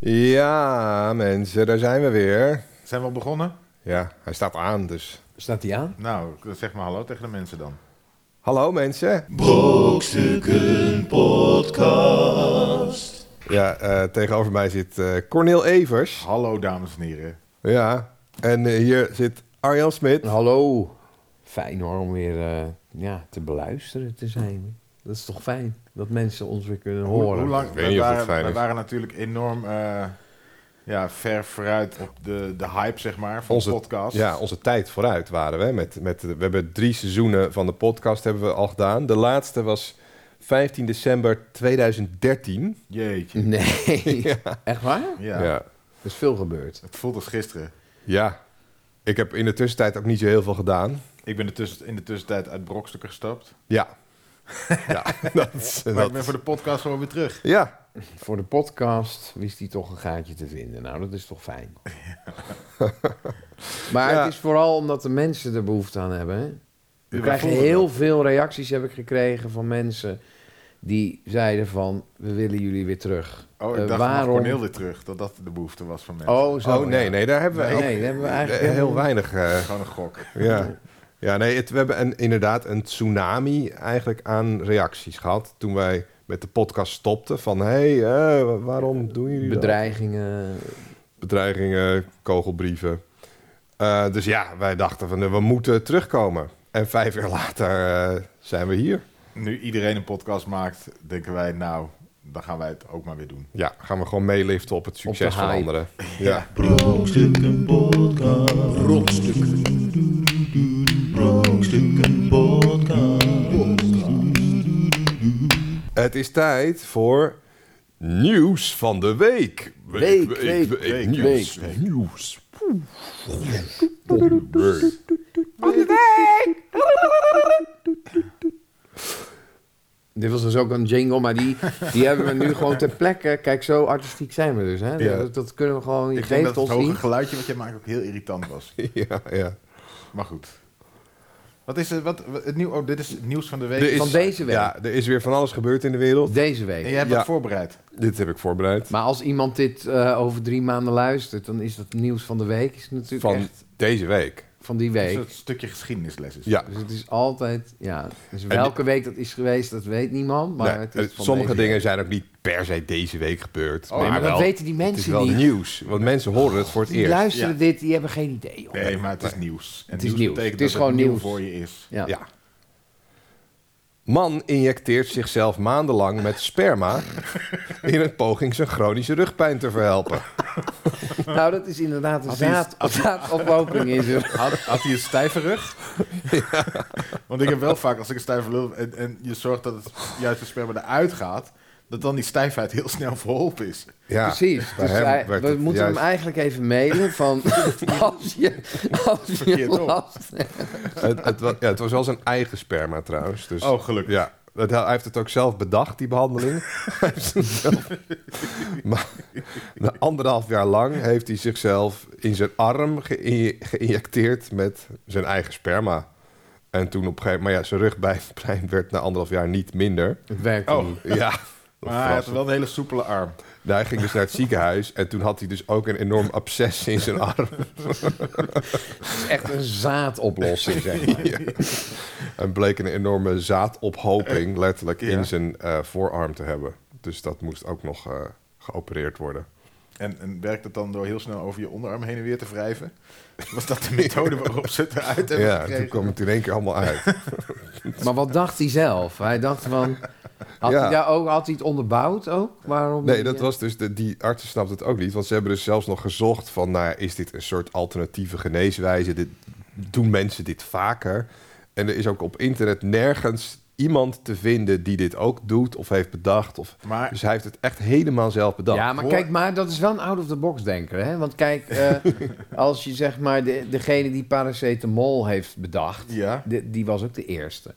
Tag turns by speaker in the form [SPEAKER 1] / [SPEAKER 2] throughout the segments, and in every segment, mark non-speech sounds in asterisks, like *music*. [SPEAKER 1] Ja, mensen, daar zijn we weer.
[SPEAKER 2] Zijn we al begonnen?
[SPEAKER 1] Ja, hij staat aan, dus.
[SPEAKER 3] Staat die aan?
[SPEAKER 2] Nou, zeg maar hallo tegen de mensen dan.
[SPEAKER 1] Hallo mensen.
[SPEAKER 4] Brokstukken Podcast.
[SPEAKER 1] Ja, eh, tegenover mij zit eh Cornel Evers.
[SPEAKER 2] Hallo dames en heren.
[SPEAKER 1] Ja, en eh, hier zit Arjan Smit.
[SPEAKER 3] Hallo. Fijn hoor om weer eh, ja, te beluisteren te zijn. Dat is toch fijn dat mensen ons weer kunnen
[SPEAKER 2] Hoe-
[SPEAKER 3] horen.
[SPEAKER 2] Hoe lang?
[SPEAKER 1] Ik weet
[SPEAKER 2] We
[SPEAKER 1] niet of het
[SPEAKER 2] waren,
[SPEAKER 1] fijn
[SPEAKER 2] wij
[SPEAKER 1] is.
[SPEAKER 2] waren natuurlijk enorm eh, ja, ver vooruit op de, de hype, zeg maar, van
[SPEAKER 1] Onze-
[SPEAKER 2] de podcast.
[SPEAKER 1] Ja, onze tijd vooruit waren we. Met, met, we hebben drie seizoenen van de podcast hebben we al gedaan. De laatste was 15 december 2013.
[SPEAKER 2] Jeetje.
[SPEAKER 3] Nee. Echt waar?
[SPEAKER 2] Ja.
[SPEAKER 1] ja.
[SPEAKER 3] Er is veel gebeurd.
[SPEAKER 2] Het voelt als gisteren.
[SPEAKER 1] Ja. Ik heb in de tussentijd ook niet zo heel veel gedaan.
[SPEAKER 2] Ik ben er tussen- in de tussentijd uit brokstukken gestapt.
[SPEAKER 1] Ja. *laughs* ja, dat is... eh,
[SPEAKER 2] Maar
[SPEAKER 1] dat-
[SPEAKER 2] ik ben voor de podcast gewoon weer terug.
[SPEAKER 1] Ja,
[SPEAKER 3] Voor de podcast wist hij toch een gaatje te vinden. Nou, dat is toch fijn. maar
[SPEAKER 1] Ja.
[SPEAKER 3] het is vooral omdat de mensen er behoefte aan hebben. hè? We
[SPEAKER 2] Ja,
[SPEAKER 3] krijgen
[SPEAKER 2] voelen
[SPEAKER 3] heel
[SPEAKER 2] dat.
[SPEAKER 3] veel reacties, heb ik gekregen, van mensen die zeiden van... we willen jullie weer terug.
[SPEAKER 2] Oh, ik
[SPEAKER 3] Eh,
[SPEAKER 2] dacht, mag
[SPEAKER 3] waarom?
[SPEAKER 2] Corneel weer terug? Dat dat de behoefte was van mensen.
[SPEAKER 3] Oh, zo,
[SPEAKER 1] oh nee,
[SPEAKER 3] ja.
[SPEAKER 1] nee, daar hebben we
[SPEAKER 3] Nee,
[SPEAKER 1] ook
[SPEAKER 3] nee, daar hebben we
[SPEAKER 1] Eh,
[SPEAKER 3] eigenlijk
[SPEAKER 1] heel
[SPEAKER 3] helemaal-
[SPEAKER 1] weinig. eh,
[SPEAKER 2] Gewoon een gok.
[SPEAKER 1] ja. ja, nee, het, we hebben een, inderdaad een tsunami eigenlijk aan reacties gehad. Toen wij met de podcast stopten van... hé, hey, eh, waarom doen jullie dat?
[SPEAKER 3] Bedreigingen.
[SPEAKER 1] Bedreigingen, kogelbrieven. Eh, dus ja, wij dachten van eh, we moeten terugkomen. En vijf jaar later eh, zijn we hier.
[SPEAKER 2] Nu iedereen een podcast maakt, denken wij, nou, dan gaan wij het ook maar weer doen.
[SPEAKER 1] Ja, gaan we gewoon meeliften op het succes van
[SPEAKER 3] hype.
[SPEAKER 1] anderen. Ja.
[SPEAKER 4] Brokstukken Podcast. Brokstukken. Brokstukken Podcast.
[SPEAKER 1] Het is tijd voor nieuws van de week.
[SPEAKER 3] Week, week,
[SPEAKER 2] week,
[SPEAKER 1] nieuws,
[SPEAKER 2] week.
[SPEAKER 1] nieuws.
[SPEAKER 3] Dit was dus ook een jingle, maar die, die hebben we nu gewoon ter plekke. Kijk, zo artistiek zijn we dus. Hè?
[SPEAKER 1] Ja.
[SPEAKER 3] Dat, dat kunnen we gewoon. Je
[SPEAKER 2] Ik denk dat
[SPEAKER 3] geeft
[SPEAKER 2] het
[SPEAKER 3] ons
[SPEAKER 2] hoge
[SPEAKER 3] niet.
[SPEAKER 2] geluidje wat jij maakt ook heel irritant was.
[SPEAKER 1] Ja, ja.
[SPEAKER 2] Maar goed. Wat is het? Wat, wat- het nieuw, oh, dit is het nieuws van de week.
[SPEAKER 1] Er is-
[SPEAKER 3] Van deze week.
[SPEAKER 1] Ja, er is weer van alles gebeurd in de wereld.
[SPEAKER 3] Deze
[SPEAKER 2] En
[SPEAKER 3] week.
[SPEAKER 2] jij hebt
[SPEAKER 1] Ja.
[SPEAKER 2] het voorbereid.
[SPEAKER 1] Dit heb ik voorbereid.
[SPEAKER 3] Maar als iemand dit eh, over drie maanden luistert, dan is dat nieuws van de week. Is natuurlijk
[SPEAKER 1] Van
[SPEAKER 3] echt
[SPEAKER 1] deze week.
[SPEAKER 3] van die
[SPEAKER 2] Dus
[SPEAKER 3] week.
[SPEAKER 2] het stukje geschiedenisles is.
[SPEAKER 1] Ja.
[SPEAKER 3] Dus het is altijd. Ja. Dus
[SPEAKER 1] die-
[SPEAKER 3] welke week dat is geweest, dat weet niemand. Maar
[SPEAKER 1] Nee, eh,
[SPEAKER 3] het is van
[SPEAKER 1] sommige
[SPEAKER 3] deze
[SPEAKER 1] dingen
[SPEAKER 3] week.
[SPEAKER 1] zijn ook niet per se deze week gebeurd.
[SPEAKER 3] Nee, maar dat
[SPEAKER 1] wel,
[SPEAKER 3] weten die
[SPEAKER 1] het is
[SPEAKER 3] mensen
[SPEAKER 1] wel
[SPEAKER 3] niet.
[SPEAKER 1] nieuws. Want mensen horen het voor het
[SPEAKER 3] Die
[SPEAKER 1] eerst.
[SPEAKER 3] luisteren
[SPEAKER 2] Ja.
[SPEAKER 3] dit, die hebben geen idee. Joh.
[SPEAKER 2] Nee, maar het is nieuws. En
[SPEAKER 3] Het is nieuws.
[SPEAKER 2] betekent
[SPEAKER 3] Het is
[SPEAKER 2] dat
[SPEAKER 3] gewoon
[SPEAKER 2] het nieuw
[SPEAKER 3] nieuws.
[SPEAKER 2] voor je is.
[SPEAKER 3] Ja.
[SPEAKER 1] Ja. Man injecteert zichzelf maandenlang met sperma... in een poging zijn chronische rugpijn te verhelpen.
[SPEAKER 3] Nou, dat is inderdaad een
[SPEAKER 2] Had die-
[SPEAKER 3] zaad, zaadophoping in zijn
[SPEAKER 2] Had, had hij een stijve
[SPEAKER 3] *laughs*
[SPEAKER 2] rug? Want ik heb wel vaak, als ik een stijve lul en, en je zorgt dat het juiste sperma eruit gaat, dat dan die stijfheid heel snel verholpen is.
[SPEAKER 1] Ja,
[SPEAKER 3] Precies.
[SPEAKER 1] bij
[SPEAKER 3] Dus
[SPEAKER 1] hem
[SPEAKER 3] hij-
[SPEAKER 1] werd
[SPEAKER 3] we
[SPEAKER 1] het
[SPEAKER 3] moeten hem
[SPEAKER 1] juist-
[SPEAKER 3] eigenlijk even
[SPEAKER 1] *laughs*
[SPEAKER 3] mailen van als je, als je
[SPEAKER 2] Verkeerd op.
[SPEAKER 3] last hebt.
[SPEAKER 1] het, het, was, ja, het was wel zijn eigen sperma trouwens. Dus,
[SPEAKER 2] Oh, gelukkig.
[SPEAKER 1] Ja, het- hij heeft het ook zelf bedacht, die
[SPEAKER 2] *laughs*
[SPEAKER 1] behandeling. Hij heeft het zelf- maar na anderhalf jaar lang heeft hij zichzelf in zijn arm geïnje- geïnjecteerd met zijn eigen sperma. En toen op een gegeven moment, maar ja, zijn rugpijn werd na anderhalf jaar niet minder.
[SPEAKER 3] Het werkt
[SPEAKER 2] Oh.
[SPEAKER 3] niet.
[SPEAKER 1] Ja, *laughs* dat
[SPEAKER 2] Maar hij had
[SPEAKER 1] verrassend.
[SPEAKER 2] wel een hele soepele arm.
[SPEAKER 1] Nou, hij ging dus naar het ziekenhuis en toen had hij dus ook een enorm absces in zijn arm.
[SPEAKER 3] Het is echt een zaadoplossing,
[SPEAKER 1] *laughs*
[SPEAKER 3] zeg maar.
[SPEAKER 1] En bleek een enorme zaadophoping letterlijk
[SPEAKER 2] Ja.
[SPEAKER 1] in zijn eh, voorarm te hebben. Dus dat moest ook nog eh, geopereerd worden.
[SPEAKER 2] En, en werkt het dan door heel snel over je onderarm heen en weer te wrijven? Was dat de methode waarop ze het eruit hebben
[SPEAKER 1] Ja,
[SPEAKER 2] gekregen?
[SPEAKER 1] toen kwam het in één keer allemaal
[SPEAKER 2] *laughs*
[SPEAKER 1] uit.
[SPEAKER 3] Maar wat dacht hij zelf? Hij dacht van... Had,
[SPEAKER 1] Ja.
[SPEAKER 3] hij, daar ook, had hij het onderbouwd ook? Waarom
[SPEAKER 1] Nee,
[SPEAKER 3] hij-
[SPEAKER 1] dat was dus, de, die artsen snapten het ook niet. Want ze hebben dus zelfs nog gezocht van, nou ja, is dit een soort alternatieve geneeswijze? Dit, doen mensen dit vaker? En er is ook op internet nergens iemand te vinden die dit ook doet of heeft bedacht. Of,
[SPEAKER 2] Maar
[SPEAKER 1] dus hij heeft het echt helemaal zelf bedacht.
[SPEAKER 3] Ja, maar
[SPEAKER 2] Hoor.
[SPEAKER 3] kijk, maar dat is wel een out-of-the-box denker, hè? Want
[SPEAKER 1] *laughs*
[SPEAKER 3] kijk, eh, als je zeg maar de, degene die paracetamol heeft bedacht,
[SPEAKER 2] Ja.
[SPEAKER 3] de- die was ook de eerste.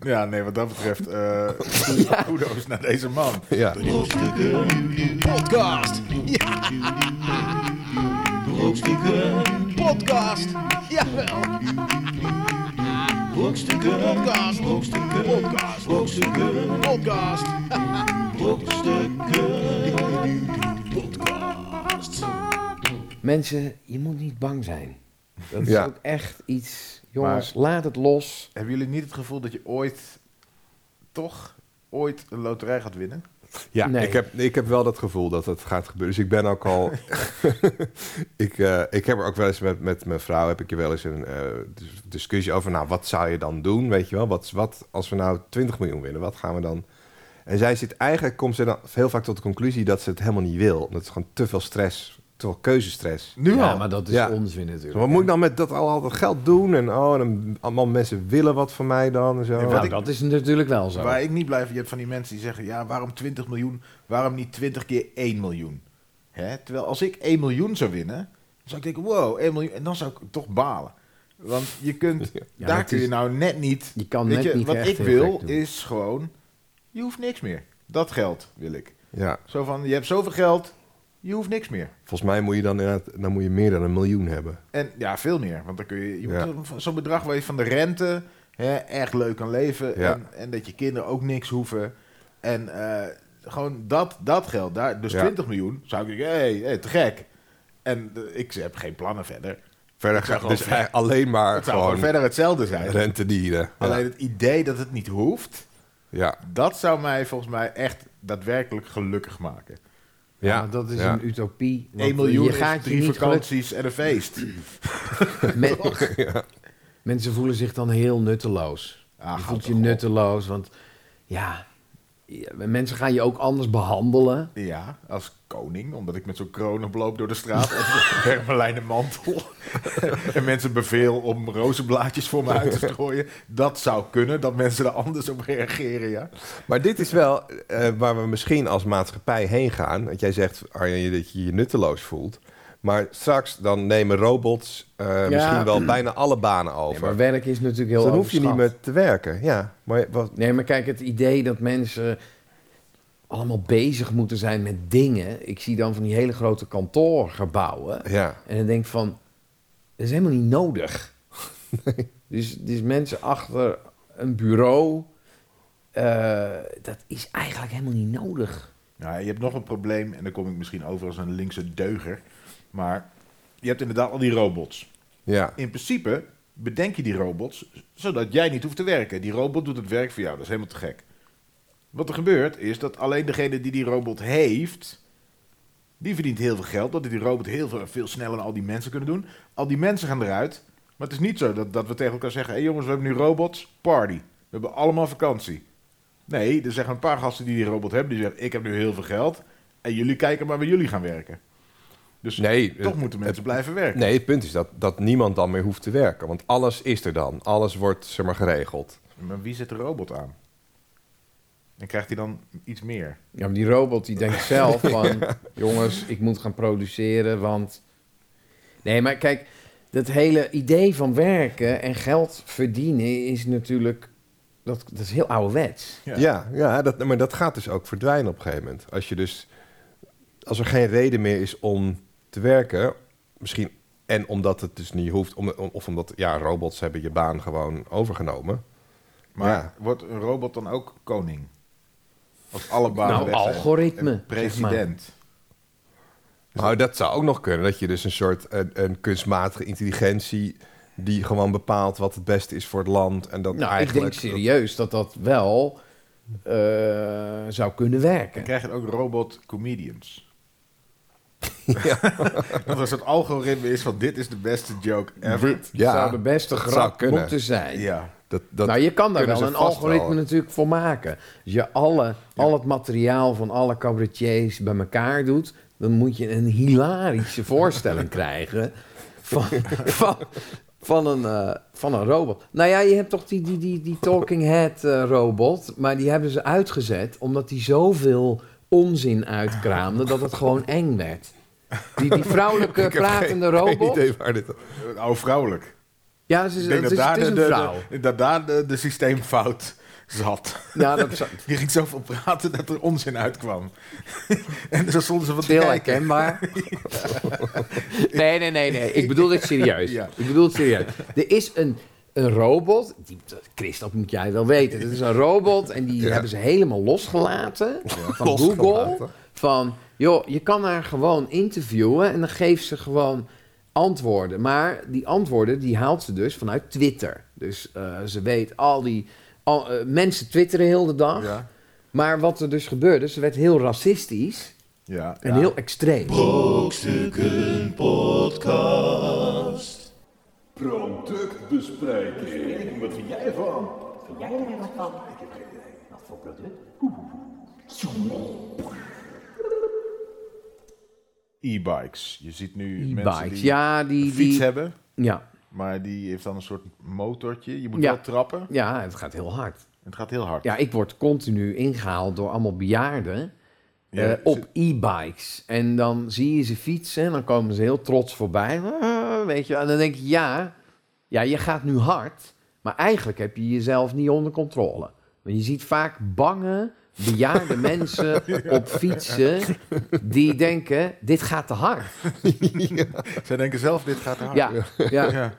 [SPEAKER 2] Ja, nee, wat dat betreft. eh
[SPEAKER 1] *laughs*
[SPEAKER 2] *laughs* Kudo's naar deze man.
[SPEAKER 1] Ja.
[SPEAKER 4] Brokstukken Podcast. Ja. Brokstukken Podcast. Jawel. Brokstukken Podcast. Brokstukken Podcast. Brokstukken Podcast. Brokstukken
[SPEAKER 3] Mensen, je moet niet bang zijn. Dat is
[SPEAKER 1] Ja.
[SPEAKER 3] ook echt iets... Jongens, laat het los.
[SPEAKER 2] Hebben jullie niet het gevoel dat je ooit, toch, ooit een loterij gaat winnen?
[SPEAKER 1] Ja,
[SPEAKER 3] Nee.
[SPEAKER 1] ik, heb, ik heb wel dat gevoel dat dat gaat gebeuren. Dus ik ben ook al. ik, eh, ik heb er ook wel eens met, met mijn vrouw heb ik er wel eens een eh, dis- discussie over. Nou, wat zou je dan doen? Weet je wel, wat, wat als we nou 20 miljoen winnen, wat gaan we dan? En zij zit eigenlijk, komt ze dan heel vaak tot de conclusie dat ze het helemaal niet wil. Dat is gewoon te veel stress, te veel keuzestress.
[SPEAKER 2] Nu
[SPEAKER 3] ja,
[SPEAKER 2] al?
[SPEAKER 3] maar dat is
[SPEAKER 1] Ja.
[SPEAKER 3] onzin
[SPEAKER 1] Dus
[SPEAKER 3] natuurlijk.
[SPEAKER 1] Wat moet ik dan met dat al, al dat geld doen? En oh, en dan, allemaal mensen willen wat van mij dan en zo.
[SPEAKER 2] En wat
[SPEAKER 3] Nou,
[SPEAKER 2] ik-
[SPEAKER 3] dat is natuurlijk wel zo.
[SPEAKER 2] Waar ik niet blij van, je hebt van die mensen die zeggen, ja, waarom 20 miljoen, waarom niet 20 keer 1 miljoen? Hè? Terwijl als ik 1 miljoen zou winnen, dan zou ik denken, wow, 1 miljoen, en dan zou ik toch balen. Want je kunt,
[SPEAKER 3] Ja,
[SPEAKER 2] daar
[SPEAKER 3] het
[SPEAKER 2] kun je
[SPEAKER 3] is-
[SPEAKER 2] nou net niet,
[SPEAKER 3] Je kan
[SPEAKER 2] weet
[SPEAKER 3] net
[SPEAKER 2] je,
[SPEAKER 3] niet
[SPEAKER 2] wat
[SPEAKER 3] echt
[SPEAKER 2] ik
[SPEAKER 3] heel
[SPEAKER 2] wil
[SPEAKER 3] gek doen.
[SPEAKER 2] is gewoon, je hoeft niks meer. Dat geld wil ik.
[SPEAKER 1] Ja,
[SPEAKER 2] Zo van, je hebt zoveel geld, je hoeft niks meer.
[SPEAKER 1] volgens mij moet je dan inderdaad, dan moet je meer dan een miljoen hebben.
[SPEAKER 2] En ja, veel meer. Want dan kun je, je
[SPEAKER 1] Ja.
[SPEAKER 2] moet zo- zo'n bedrag waar je van de rente hè, echt leuk kan leven.
[SPEAKER 1] Ja.
[SPEAKER 2] En, en dat je kinderen ook niks hoeven. En eh, gewoon dat, dat geld daar. Dus
[SPEAKER 1] Ja.
[SPEAKER 2] 20 miljoen zou ik denken, hé, hey, hey, te gek. En eh, ik heb geen plannen verder.
[SPEAKER 1] Verder
[SPEAKER 2] zou
[SPEAKER 1] gaat
[SPEAKER 2] gewoon
[SPEAKER 1] dus
[SPEAKER 2] ver-
[SPEAKER 1] eigenlijk alleen maar
[SPEAKER 2] Het zou gewoon
[SPEAKER 1] gewoon
[SPEAKER 2] verder hetzelfde zijn.
[SPEAKER 1] rentedieren.
[SPEAKER 2] Alleen
[SPEAKER 1] Ja.
[SPEAKER 2] het idee dat het niet hoeft,
[SPEAKER 1] ja.
[SPEAKER 2] dat zou mij volgens mij echt daadwerkelijk gelukkig maken.
[SPEAKER 1] Ja.
[SPEAKER 3] Maar dat is
[SPEAKER 1] Ja.
[SPEAKER 3] een utopie. want
[SPEAKER 2] 1 miljoen
[SPEAKER 3] je
[SPEAKER 2] is
[SPEAKER 3] gaat je
[SPEAKER 2] drie
[SPEAKER 3] niet gelukkig- *laughs*
[SPEAKER 2] vakanties en een feest.
[SPEAKER 3] Men-
[SPEAKER 1] *laughs*
[SPEAKER 3] Mensen voelen zich dan heel nutteloos.
[SPEAKER 2] Ah,
[SPEAKER 3] je
[SPEAKER 2] houd
[SPEAKER 3] voelt je
[SPEAKER 2] toch op.
[SPEAKER 3] nutteloos, want ja, ja, mensen gaan je ook anders behandelen.
[SPEAKER 2] Ja, als koning, omdat ik met zo'n kroon oploop door de straat. en een hermelijnen mantel. *laughs* en mensen beveel om rozenblaadjes voor me uit te strooien. Dat zou kunnen, dat mensen er anders op reageren, ja.
[SPEAKER 1] Maar dit is wel eh, waar we misschien als maatschappij heen gaan. Want jij zegt, Arjen, dat je je nutteloos voelt. Maar straks dan nemen robots eh,
[SPEAKER 3] Ja.
[SPEAKER 1] misschien wel bijna alle banen
[SPEAKER 3] Nee,
[SPEAKER 1] over. Dus
[SPEAKER 3] maar werk is natuurlijk heel
[SPEAKER 1] dan hoef je niet
[SPEAKER 3] overschat.
[SPEAKER 1] meer te werken. Ja, maar wat,
[SPEAKER 3] Nee, maar kijk, het idee dat mensen allemaal bezig moeten zijn met dingen. Ik zie dan van die hele grote kantoorgebouwen.
[SPEAKER 1] ja.
[SPEAKER 3] En dan denk ik van, dat is helemaal niet nodig. *laughs* Dus, dus mensen achter een bureau, eh, dat is eigenlijk helemaal niet nodig.
[SPEAKER 2] Nou, je hebt nog een probleem, en dan kom ik misschien over als een linkse deuger. Maar je hebt inderdaad al die robots.
[SPEAKER 1] ja.
[SPEAKER 2] In principe bedenk je die robots zodat jij niet hoeft te werken. Die robot doet het werk voor jou, dat is helemaal te gek. Wat er gebeurt is dat alleen degene die die robot heeft, die verdient heel veel geld, omdat die robot heel veel, veel sneller dan al die mensen kunnen doen. Al die mensen gaan eruit, maar het is niet zo dat, dat we tegen elkaar zeggen: hé jongens, we hebben nu robots, party. We hebben allemaal vakantie. Nee, er zeggen een paar gasten die die robot hebben, die zeggen: ik heb nu heel veel geld en jullie kijken maar waar jullie gaan werken. Dus
[SPEAKER 1] Nee,
[SPEAKER 2] toch
[SPEAKER 1] eh,
[SPEAKER 2] moeten mensen blijven werken.
[SPEAKER 1] nee, het punt is dat, dat niemand dan meer hoeft te werken. Want alles is er dan. Alles wordt zeg maar, geregeld.
[SPEAKER 2] Maar wie zet de robot aan? En krijgt hij dan iets meer?
[SPEAKER 3] Ja, maar die robot die denkt zelf *laughs* van, jongens, ik moet gaan produceren, want... Nee, maar kijk, dat hele idee van werken en geld verdienen is natuurlijk, dat, dat is heel ouderwets.
[SPEAKER 2] Ja.
[SPEAKER 1] Ja, ja, dat, maar dat gaat dus ook verdwijnen op een gegeven moment. Als, je dus, als er geen reden meer is om te werken, misschien en omdat het dus niet hoeft, om, om- of omdat ja, robots hebben je baan gewoon overgenomen.
[SPEAKER 2] Maar
[SPEAKER 1] Ja.
[SPEAKER 2] wordt een robot dan ook koning? Als alle banen
[SPEAKER 3] Nou,
[SPEAKER 2] weg zijn.
[SPEAKER 3] algoritme,
[SPEAKER 2] Een
[SPEAKER 3] zeg maar.
[SPEAKER 2] president.
[SPEAKER 1] Nou, dat zou ook nog kunnen, dat je dus een soort een, een kunstmatige intelligentie die gewoon bepaalt wat het beste is voor het land en dat
[SPEAKER 3] Nou, ik
[SPEAKER 1] eigenlijk.
[SPEAKER 3] denk serieus dat dat wel eh, zou kunnen
[SPEAKER 2] Dan
[SPEAKER 3] werken.
[SPEAKER 2] krijg je ook
[SPEAKER 3] *laughs*
[SPEAKER 2] robot-comedians. *laughs*
[SPEAKER 1] Ja.
[SPEAKER 2] Want als het algoritme is van dit is de beste joke ever.
[SPEAKER 3] Dit
[SPEAKER 1] Ja,
[SPEAKER 3] zou de beste
[SPEAKER 1] dat zou
[SPEAKER 3] grap
[SPEAKER 1] kunnen.
[SPEAKER 3] moeten zijn.
[SPEAKER 2] Ja.
[SPEAKER 1] Dat, dat,
[SPEAKER 3] nou, je kan daar
[SPEAKER 1] kunnen
[SPEAKER 3] wel
[SPEAKER 1] ze
[SPEAKER 3] een
[SPEAKER 1] vast
[SPEAKER 3] algoritme
[SPEAKER 1] wel.
[SPEAKER 3] natuurlijk voor maken. Als je alle, al het materiaal van alle cabaretiers bij elkaar doet... dan moet je een
[SPEAKER 1] *laughs*
[SPEAKER 3] hilarische voorstelling krijgen van, van, van, een, eh, van een robot. Nou ja, je hebt toch die, die, die, die talking head eh, robot... maar die hebben ze uitgezet omdat die zoveel onzin uitkraamde... dat het gewoon eng werd. Die, die
[SPEAKER 1] *laughs*
[SPEAKER 3] vrouwelijke
[SPEAKER 1] Ik heb geen-
[SPEAKER 3] pratende
[SPEAKER 1] Geen
[SPEAKER 3] robot...
[SPEAKER 1] idee waar dit.
[SPEAKER 2] Oh, vrouwelijk.
[SPEAKER 3] Ja, ze is,
[SPEAKER 2] Ik
[SPEAKER 3] het
[SPEAKER 2] denk dat
[SPEAKER 3] is,
[SPEAKER 2] daar
[SPEAKER 3] het is
[SPEAKER 2] de-
[SPEAKER 3] een vrouw.
[SPEAKER 2] de- de- dat daar de de systeemfout zat. *laughs*
[SPEAKER 3] Ja, dat is
[SPEAKER 2] Je ging zoveel praten dat er onzin uitkwam. *laughs* en zo stonden ze van te
[SPEAKER 3] heel
[SPEAKER 2] kijken.
[SPEAKER 3] herkenbaar. Nee, nee, nee, nee. Ik bedoel dit serieus.
[SPEAKER 2] Ja.
[SPEAKER 3] Ik bedoel het serieus. Er is een, een robot. Die, Chris, dat moet jij wel weten. Het is een robot en die
[SPEAKER 1] Ja.
[SPEAKER 3] hebben ze helemaal losgelaten van
[SPEAKER 1] Losgelaten.
[SPEAKER 3] Google. Van, Joh, je kan haar gewoon interviewen en dan geeft ze gewoon antwoorden. Maar die antwoorden die haalt ze dus vanuit Twitter. Dus eh, ze weet al die... al- eh, mensen twitteren heel de dag.
[SPEAKER 1] Ja.
[SPEAKER 3] Maar wat er dus gebeurde, ze werd heel racistisch
[SPEAKER 2] Ja.
[SPEAKER 3] en heel extreem.
[SPEAKER 4] Brokstukken Podcast.
[SPEAKER 5] Productbespreking. Wat vind jij ervan?
[SPEAKER 6] Vind jij er wat van? Ik heb geen idee. Wat voor product? Oeh. Zoom mee.
[SPEAKER 2] E-bikes. Je ziet nu mensen
[SPEAKER 3] E-bikes.
[SPEAKER 2] die
[SPEAKER 3] Ja,
[SPEAKER 2] een
[SPEAKER 3] die...
[SPEAKER 2] fiets
[SPEAKER 3] die
[SPEAKER 2] hebben,
[SPEAKER 3] ja.
[SPEAKER 2] maar die heeft dan een soort motortje. Je moet
[SPEAKER 3] Ja.
[SPEAKER 2] wel trappen. En
[SPEAKER 3] ja, het gaat heel hard.
[SPEAKER 2] Het gaat heel hard.
[SPEAKER 3] Ja, ik word continu ingehaald door allemaal bejaarden eh,
[SPEAKER 2] Ja,
[SPEAKER 3] op e-bikes. En dan zie je ze fietsen en dan komen ze heel trots voorbij. Ah, weet je, wel. en dan denk je, ja, ja, je gaat nu hard, maar eigenlijk heb je jezelf niet onder controle. Want je ziet vaak bange,
[SPEAKER 2] *laughs*
[SPEAKER 3] bejaarde mensen op fietsen die denken, dit gaat te hard.
[SPEAKER 2] Zij denken zelf, dit gaat hard.
[SPEAKER 3] Ja, ja.
[SPEAKER 2] Ja.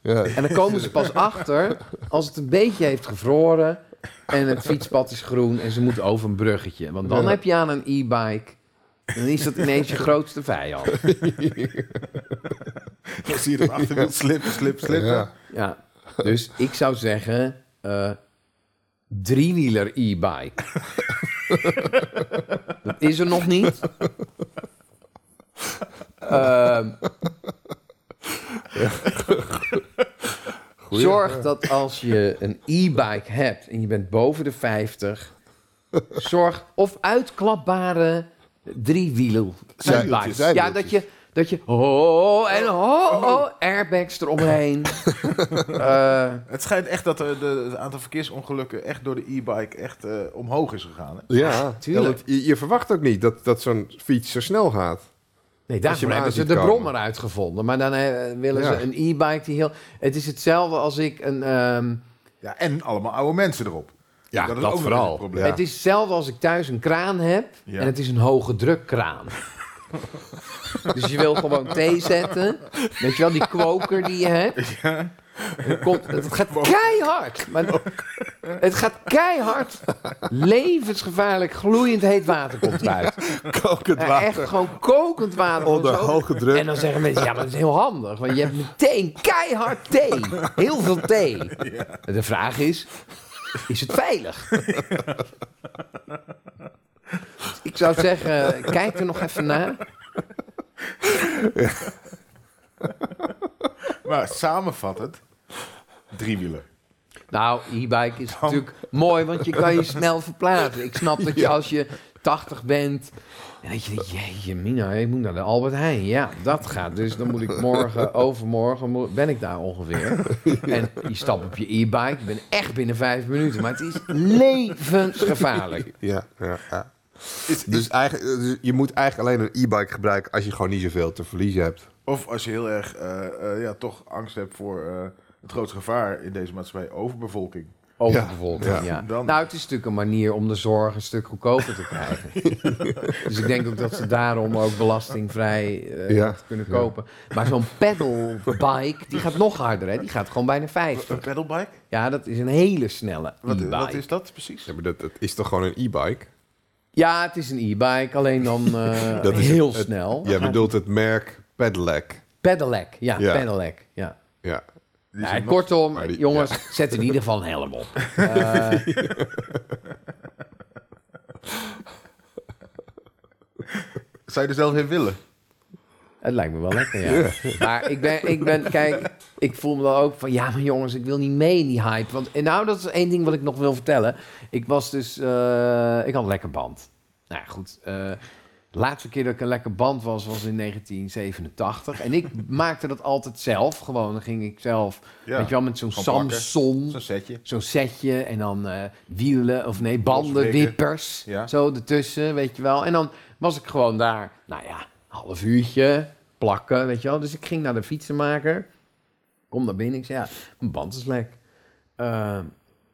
[SPEAKER 1] Ja.
[SPEAKER 3] *laughs* En dan komen ze pas achter als het een beetje heeft gevroren en het fietspad is groen en ze moeten over een bruggetje. Want dan
[SPEAKER 1] Ja.
[SPEAKER 3] heb je aan een e-bike. Dan is dat ineens je grootste vijand.
[SPEAKER 2] Dan zie je het achterwiel slippen, slip, slippen.
[SPEAKER 1] Ja.
[SPEAKER 3] Ja. Dus ik zou zeggen, eh, driewieler e-bike. *laughs* dat is er nog niet. Ehm, zorg dat als je een e-bike hebt en je bent boven de 50, zorg of uitklapbare driewielen
[SPEAKER 1] Zijwieltjes,
[SPEAKER 3] e-bikes. Ja,
[SPEAKER 1] zijwieltjes.
[SPEAKER 3] dat je dat je ho en ho, ho airbags eromheen. Eh,
[SPEAKER 2] Het schijnt echt dat er de, het aantal verkeersongelukken echt door de e-bike echt eh, omhoog is gegaan. Hè?
[SPEAKER 1] Ja,
[SPEAKER 3] tuurlijk.
[SPEAKER 1] ja, want je, je verwacht ook niet dat, dat zo'n fiets zo snel
[SPEAKER 3] *laughs*
[SPEAKER 1] gaat.
[SPEAKER 3] nee,
[SPEAKER 1] Als je
[SPEAKER 3] daarvoor
[SPEAKER 1] hem
[SPEAKER 3] hebben
[SPEAKER 1] aan
[SPEAKER 3] ze
[SPEAKER 1] ziet
[SPEAKER 3] de
[SPEAKER 1] komen.
[SPEAKER 3] brommer uitgevonden. Maar dan eh, willen
[SPEAKER 1] Ja.
[SPEAKER 3] ze een e-bike die heel... Het is hetzelfde als ik een... ehm,
[SPEAKER 2] Ja, en allemaal oude mensen erop.
[SPEAKER 1] Ja,
[SPEAKER 2] is
[SPEAKER 1] dat
[SPEAKER 2] ook nog
[SPEAKER 1] vooral.
[SPEAKER 2] een probleem.
[SPEAKER 1] Ja.
[SPEAKER 3] Het is hetzelfde als ik thuis een kraan heb
[SPEAKER 2] Ja.
[SPEAKER 3] en het is een hoge drukkraan. dus je wil gewoon thee zetten. Weet je wel, die kwoker die je hebt. Het, komt, het gaat keihard. Maar het gaat keihard. Levensgevaarlijk gloeiend heet water komt eruit.
[SPEAKER 1] Kokend
[SPEAKER 3] Ja, echt gewoon kokend water.
[SPEAKER 1] Onder
[SPEAKER 3] komt zo.
[SPEAKER 1] hoge druk.
[SPEAKER 3] En dan zeggen mensen, ja, maar dat is heel handig. Want je hebt meteen keihard thee. Heel veel thee. De vraag is, is het veilig? Ik zou zeggen, kijk er nog even naar.
[SPEAKER 2] Maar samenvattend, driewielen.
[SPEAKER 3] Nou, e-bike is natuurlijk mooi, want je kan je snel verplaatsen. Ik snap dat je als je 80 bent... En dat je denkt, jeetje mina, ik moet naar de Albert Heijn. Ja, dat gaat. Dus dan moet ik morgen, overmorgen, mo- ben ik daar ongeveer. En je stapt op je e-bike, je bent echt binnen vijf minuten. Maar het is levensgevaarlijk.
[SPEAKER 1] Ja, ja, ja. dus, eigenlijk, dus je moet eigenlijk alleen een e-bike gebruiken als je gewoon niet zoveel te verliezen hebt.
[SPEAKER 2] Of als je heel erg eh, eh, ja, toch angst hebt voor eh, het grootste gevaar in deze maatschappij, overbevolking.
[SPEAKER 3] Overbevolking,
[SPEAKER 1] Ja,
[SPEAKER 3] ja.
[SPEAKER 1] ja.
[SPEAKER 2] Dan-
[SPEAKER 3] Nou, het is natuurlijk een manier om de zorg een stuk goedkoper te
[SPEAKER 1] *laughs*
[SPEAKER 3] krijgen. dus ik denk ook dat ze daarom ook belastingvrij eh,
[SPEAKER 1] Ja,
[SPEAKER 3] het kunnen kopen. Maar zo'n pedalbike, die gaat nog harder, hè. Die gaat gewoon bijna 50.
[SPEAKER 2] Een pedalbike?
[SPEAKER 3] Ja, dat is een hele snelle
[SPEAKER 2] Wat,
[SPEAKER 3] e-bike.
[SPEAKER 2] wat is dat precies?
[SPEAKER 1] Ja, maar dat, dat is toch gewoon een e-bike?
[SPEAKER 3] Ja, het is een e-bike, alleen dan
[SPEAKER 1] *laughs*
[SPEAKER 3] eh,
[SPEAKER 1] Dat is
[SPEAKER 3] heel
[SPEAKER 1] het-
[SPEAKER 3] snel.
[SPEAKER 1] Jij bedoelt het merk Pedelec.
[SPEAKER 3] Pedelec, ja,
[SPEAKER 1] Ja.
[SPEAKER 3] pedelec, ja.
[SPEAKER 1] Ja.
[SPEAKER 2] Die
[SPEAKER 3] Ja,
[SPEAKER 2] zijn nog-
[SPEAKER 3] kortom,
[SPEAKER 1] maar die-
[SPEAKER 3] jongens, zet in ieder geval een helm op. Eh,
[SPEAKER 2] Zou je er zelf in willen?
[SPEAKER 3] Het lijkt me wel lekker, ja. Maar ik ben, ik ben, kijk, ik voel me dan ook van... Ja, maar jongens, ik wil niet mee in die hype. Want, en nou, dat is één ding wat ik nog wil vertellen. Ik was dus... eh, ik had een lekker band. Nou ja, goed. eh, de laatste keer dat ik een lekker band was, was in 1987. En ik *laughs* maakte dat altijd zelf. Gewoon, dan ging ik zelf...
[SPEAKER 2] Ja.
[SPEAKER 3] Weet je wel, met zo'n
[SPEAKER 2] Gewoon pakken.
[SPEAKER 3] Samson
[SPEAKER 2] Zo'n setje.
[SPEAKER 3] zo'n setje en dan eh, wielen of nee, banden,
[SPEAKER 2] Losweken.
[SPEAKER 3] wippers,
[SPEAKER 2] Ja.
[SPEAKER 3] zo ertussen, weet je wel. En dan was ik gewoon daar, nou ja, een half uurtje plakken, weet je wel. Dus ik ging naar de fietsenmaker, kom daar binnen, ik zei ja, mijn band is lek. Eh,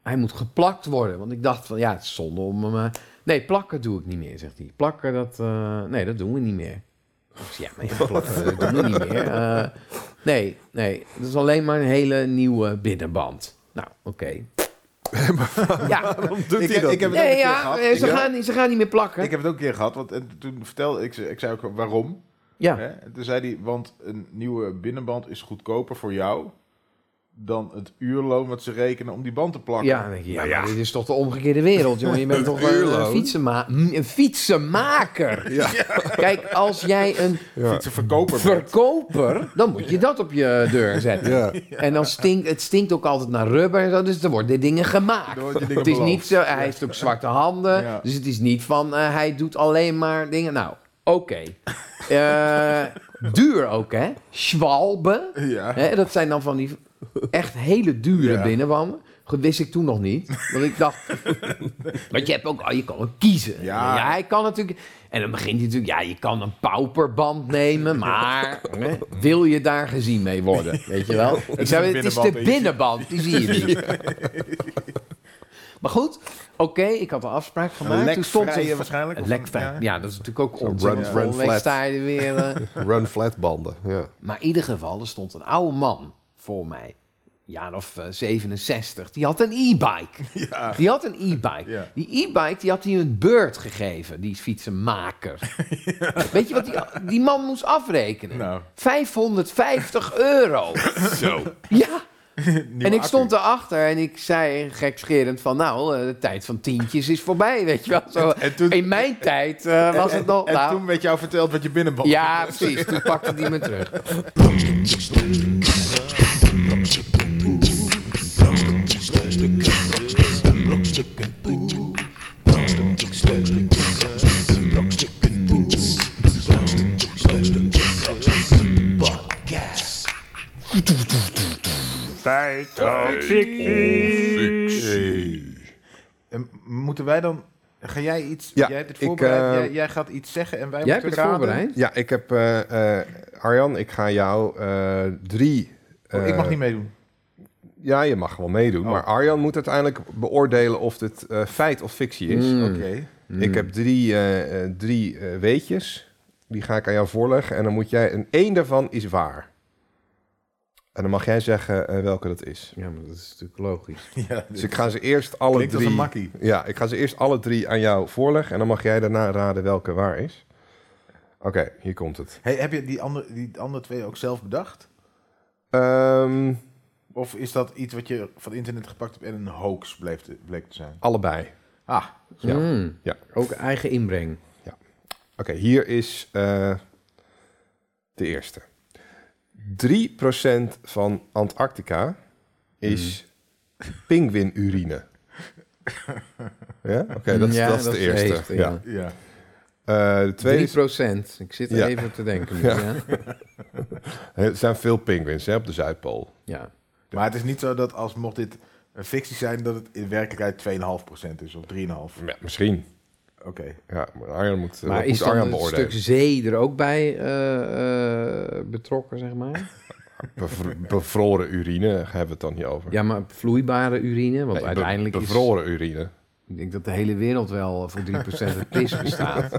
[SPEAKER 3] hij moet geplakt worden, want ik dacht van ja, het is zonde om hem... eh, nee, plakken doe ik niet meer, zegt hij. Plakken, dat, eh, nee, dat doen we niet meer. Ik zei, ja, maar ja, plakken dat doen we
[SPEAKER 2] *laughs*
[SPEAKER 3] niet meer. Eh,
[SPEAKER 2] *laughs*
[SPEAKER 3] nee, nee, dat is alleen maar een hele nieuwe binnenband. Nou, oké. Ja.
[SPEAKER 2] doet
[SPEAKER 1] hij dat
[SPEAKER 2] Ik heb het ook een
[SPEAKER 3] Nee,
[SPEAKER 2] keer
[SPEAKER 3] ja,
[SPEAKER 2] gehad.
[SPEAKER 3] eh, ze,
[SPEAKER 2] Ik-
[SPEAKER 3] gaan, niet- ze gaan niet meer plakken.
[SPEAKER 2] Ik heb het ook een keer gehad, want en toen vertelde ik, ze- ik zei ook waarom.
[SPEAKER 3] ja.
[SPEAKER 2] Hè? En toen zei hij, want een nieuwe binnenband is goedkoper voor jou dan het uurloon wat ze rekenen om die band te plakken. Nou
[SPEAKER 3] Ja, dan denk je, ja, maar dit is toch de omgekeerde wereld, jongen. Je
[SPEAKER 2] *laughs*
[SPEAKER 3] bent toch een,
[SPEAKER 1] uurloon.
[SPEAKER 3] een, fietsenma- mm, een fietsenmaker.
[SPEAKER 1] Ja.
[SPEAKER 3] Kijk, als jij een
[SPEAKER 2] Fietsenverkoper.
[SPEAKER 3] verkoper, dan moet je dat op je deur zetten.
[SPEAKER 1] Ja.
[SPEAKER 3] En dan stinkt het stinkt ook altijd naar rubber en zo, dus er worden dingen gemaakt.
[SPEAKER 2] Dan worden die dingen
[SPEAKER 3] het is
[SPEAKER 2] beloofd.
[SPEAKER 3] niet zo, hij heeft ook zwarte handen,
[SPEAKER 2] Ja.
[SPEAKER 3] dus het is niet van eh, hij doet alleen maar dingen. Nou, oké.
[SPEAKER 2] *laughs*
[SPEAKER 3] Eh, duur ook, hè? Schwalbe.
[SPEAKER 2] verkoper. Ja.
[SPEAKER 3] Hè, dat zijn dan van die echt hele dure
[SPEAKER 2] Ja.
[SPEAKER 3] binnenwanden. Goed, wist ik toen nog niet. Want ik dacht. Want je hebt ook. Oh, je kan ook kiezen.
[SPEAKER 2] Ja.
[SPEAKER 3] hij kan natuurlijk. En dan begint hij natuurlijk. Ja, je kan een pauperband nemen. Maar. hè, wil je daar gezien mee worden? Weet je wel? Ik
[SPEAKER 2] is
[SPEAKER 3] zei,
[SPEAKER 2] een
[SPEAKER 3] het is de
[SPEAKER 2] binnenband, hè, je
[SPEAKER 3] binnenband. Die zie je niet. Maar goed, oké, ik had een afspraak gemaakt. Toen stond er-
[SPEAKER 2] Lekvrije waarschijnlijk.
[SPEAKER 3] Een
[SPEAKER 2] of-
[SPEAKER 3] lekvrij. Ja.
[SPEAKER 2] Ja.
[SPEAKER 3] dat is natuurlijk ook
[SPEAKER 1] Zo'n
[SPEAKER 3] onzin.
[SPEAKER 1] run-
[SPEAKER 3] Ja.
[SPEAKER 1] run
[SPEAKER 3] Volgende week
[SPEAKER 1] flat.
[SPEAKER 3] sta je er weer. eh,
[SPEAKER 1] Run flat banden. Ja.
[SPEAKER 3] maar in ieder geval, er stond een oude man voor mij, een jaar of eh, 67, die had een
[SPEAKER 2] *laughs*
[SPEAKER 3] e-bike.
[SPEAKER 2] Ja.
[SPEAKER 3] Die had een e-bike.
[SPEAKER 2] Ja.
[SPEAKER 3] Die e-bike die had hij een beurt gegeven, die
[SPEAKER 2] *laughs*
[SPEAKER 3] fietsenmaker. Weet je wat die, die man moest afrekenen?
[SPEAKER 2] Nou. *laughs*
[SPEAKER 3] 550 euro. *laughs* Zo. Ja.
[SPEAKER 2] Nieuwe
[SPEAKER 3] En ik
[SPEAKER 2] accu.
[SPEAKER 3] stond erachter en ik zei gekscherend van... nou, eh, de tijd van tientjes is voorbij, weet je wel. Zo,
[SPEAKER 2] en toen-
[SPEAKER 3] in mijn tijd eh, was het nog...
[SPEAKER 2] En
[SPEAKER 3] nou,
[SPEAKER 2] toen werd jou verteld wat je binnenband
[SPEAKER 3] ja, precies. Toen pakte die me terug.
[SPEAKER 2] En moeten wij dan... Ga jij iets...
[SPEAKER 1] Ja,
[SPEAKER 2] jij hebt het
[SPEAKER 1] ik,
[SPEAKER 2] voorbereid.
[SPEAKER 1] eh,
[SPEAKER 2] jij, jij gaat iets zeggen en wij
[SPEAKER 3] Jij hebt
[SPEAKER 2] moeten
[SPEAKER 3] het
[SPEAKER 2] raden.
[SPEAKER 3] voorbereid?
[SPEAKER 1] ja, ik heb... eh, eh, Arjan, ik ga jou eh, drie...
[SPEAKER 2] Oh, ik
[SPEAKER 1] eh,
[SPEAKER 2] mag niet meedoen.
[SPEAKER 1] Ja, je mag wel meedoen.
[SPEAKER 2] Oh.
[SPEAKER 1] Maar Arjan moet uiteindelijk beoordelen of dit eh, feit of fictie is.
[SPEAKER 2] Oké.
[SPEAKER 1] Ik heb drie, eh, eh, drie eh, weetjes. Die ga ik aan jou voorleggen. En dan moet jij... En één daarvan is waar. En dan mag jij zeggen eh, welke dat is.
[SPEAKER 3] Ja, maar dat is natuurlijk logisch.
[SPEAKER 2] *laughs* Ja,
[SPEAKER 1] Dus ik ga ze eerst alle
[SPEAKER 2] Klinkt als
[SPEAKER 1] drie...
[SPEAKER 2] een makkie.
[SPEAKER 1] Ja, ik ga ze eerst alle drie aan jou voorleggen. En dan mag jij daarna raden welke waar is. Oké, hier komt het.
[SPEAKER 2] Hey, heb je die andere, die andere twee ook zelf bedacht?
[SPEAKER 1] Ehm,
[SPEAKER 2] Of is dat iets wat je van internet gepakt hebt en een hoax bleef te, bleek te zijn?
[SPEAKER 1] allebei.
[SPEAKER 2] Ah,
[SPEAKER 1] Ja. Ja.
[SPEAKER 3] ja. Hmm. Ook eigen inbreng.
[SPEAKER 1] Oké, hier is eh, de eerste. 3% van Antarctica is
[SPEAKER 2] Mhm. *laughs*
[SPEAKER 1] pinguïnurine. ja? Oké, dat, is-
[SPEAKER 3] Ja,
[SPEAKER 1] dat is
[SPEAKER 3] dat
[SPEAKER 1] de
[SPEAKER 3] is de
[SPEAKER 1] eerste.
[SPEAKER 3] eerste,
[SPEAKER 1] ja.
[SPEAKER 3] ja.
[SPEAKER 2] ja.
[SPEAKER 1] Eh, de tweede
[SPEAKER 3] 2
[SPEAKER 1] is-
[SPEAKER 3] Ik zit er
[SPEAKER 1] Ja.
[SPEAKER 3] even op te denken. nu,
[SPEAKER 1] Ja.
[SPEAKER 3] Ja.
[SPEAKER 1] er zijn veel pinguïns hè, op de Zuidpool.
[SPEAKER 3] Ja.
[SPEAKER 2] Maar het is niet zo dat als mocht dit een fictie zijn, dat het in werkelijkheid 2,5% is of 3,5%. Oké.
[SPEAKER 1] Ja, misschien. Ja, maar Arjan moet, dat
[SPEAKER 3] Maar
[SPEAKER 1] moet
[SPEAKER 3] is dan
[SPEAKER 1] Arjan
[SPEAKER 3] een
[SPEAKER 1] beoordelen.
[SPEAKER 3] stuk zee er ook bij eh, eh, betrokken, zeg maar?
[SPEAKER 1] Bevro- bevroren urine hebben we het dan niet over.
[SPEAKER 3] Ja, maar vloeibare urine, want
[SPEAKER 1] Nee, be-
[SPEAKER 3] uiteindelijk is...
[SPEAKER 1] Bevroren urine.
[SPEAKER 3] Ik denk dat de hele wereld wel voor 3% uit pis
[SPEAKER 1] *laughs*
[SPEAKER 3] bestaat.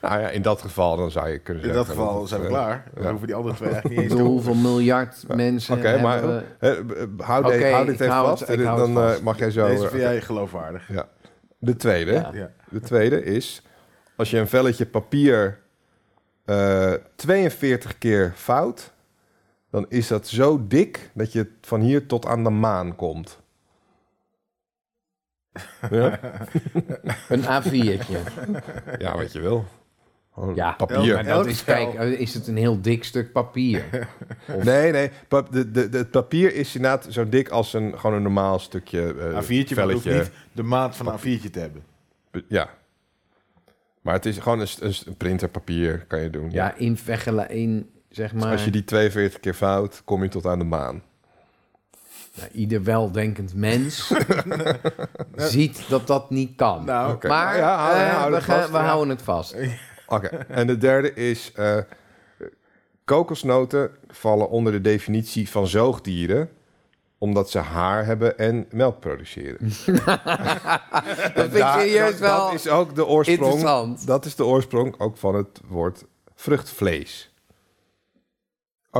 [SPEAKER 1] Nou ja, in dat geval dan zou je kunnen
[SPEAKER 2] In
[SPEAKER 1] zeggen...
[SPEAKER 2] dat geval
[SPEAKER 1] het,
[SPEAKER 2] zijn we
[SPEAKER 1] eh,
[SPEAKER 2] klaar. Dan
[SPEAKER 1] ja.
[SPEAKER 2] hoeven
[SPEAKER 1] *laughs*
[SPEAKER 2] die andere twee eigenlijk
[SPEAKER 3] Ik
[SPEAKER 2] niet eens
[SPEAKER 3] bedoel,
[SPEAKER 2] te
[SPEAKER 3] hoeveel miljard mensen
[SPEAKER 1] Oké, maar
[SPEAKER 3] hebben...
[SPEAKER 1] eh, eh, eh, houd,
[SPEAKER 3] Oké,
[SPEAKER 1] de- houd dit
[SPEAKER 3] ik
[SPEAKER 1] even
[SPEAKER 3] hou het-
[SPEAKER 1] vast.
[SPEAKER 3] ik
[SPEAKER 1] en
[SPEAKER 3] hou
[SPEAKER 1] dan
[SPEAKER 3] het
[SPEAKER 1] eh,
[SPEAKER 3] vast.
[SPEAKER 1] mag jij zo.
[SPEAKER 2] Deze vind
[SPEAKER 1] eh,
[SPEAKER 2] jij geloofwaardig.
[SPEAKER 1] ja. De tweede.
[SPEAKER 3] Ja.
[SPEAKER 2] Ja.
[SPEAKER 1] De tweede is als je een velletje papier eh, 42 keer fout, dan is dat zo dik dat je van hier tot aan de maan komt.
[SPEAKER 2] *laughs*
[SPEAKER 1] Ja,
[SPEAKER 3] Een A4'tje.
[SPEAKER 1] ja wat je wil. Gewoon
[SPEAKER 3] Ja.
[SPEAKER 1] Papier.
[SPEAKER 3] Maar dat
[SPEAKER 2] Elk
[SPEAKER 3] is,
[SPEAKER 2] spel.
[SPEAKER 3] kijk, eh, is het een heel dik stuk papier?
[SPEAKER 1] Nee, nee. pa- de, de, de- het papier is inderdaad zo dik als een, gewoon een normaal stukje eh
[SPEAKER 2] A4'tje, maar het hoeft
[SPEAKER 1] velletje.
[SPEAKER 2] niet de maat van een A4'tje te hebben.
[SPEAKER 1] Ja. Maar het is gewoon een, st- een st- een printerpapier kan je doen.
[SPEAKER 3] Ja, in, vergela- in zeg maar...
[SPEAKER 1] Als je die 42 keer fout, kom je tot aan de maan.
[SPEAKER 3] Nou, ieder weldenkend
[SPEAKER 1] *laughs*
[SPEAKER 3] mens ziet dat dat niet kan.
[SPEAKER 2] Nou,
[SPEAKER 1] Oké.
[SPEAKER 3] Maar
[SPEAKER 1] Ja, hou-
[SPEAKER 3] eh,
[SPEAKER 1] hou
[SPEAKER 3] we,
[SPEAKER 1] het
[SPEAKER 3] gaan-
[SPEAKER 1] vast,
[SPEAKER 3] we
[SPEAKER 1] ja.
[SPEAKER 3] houden het vast. *laughs*
[SPEAKER 1] Oké. en de derde is... eh, kokosnoten vallen onder de definitie van zoogdieren omdat ze haar hebben en melk
[SPEAKER 3] *laughs*
[SPEAKER 1] produceren.
[SPEAKER 3] Dat vind ik
[SPEAKER 1] Daar-
[SPEAKER 3] serieus
[SPEAKER 1] dat,
[SPEAKER 3] wel.
[SPEAKER 1] dat is ook de oorsprong.
[SPEAKER 3] interessant.
[SPEAKER 1] Dat is de oorsprong ook van het woord vruchtvlees.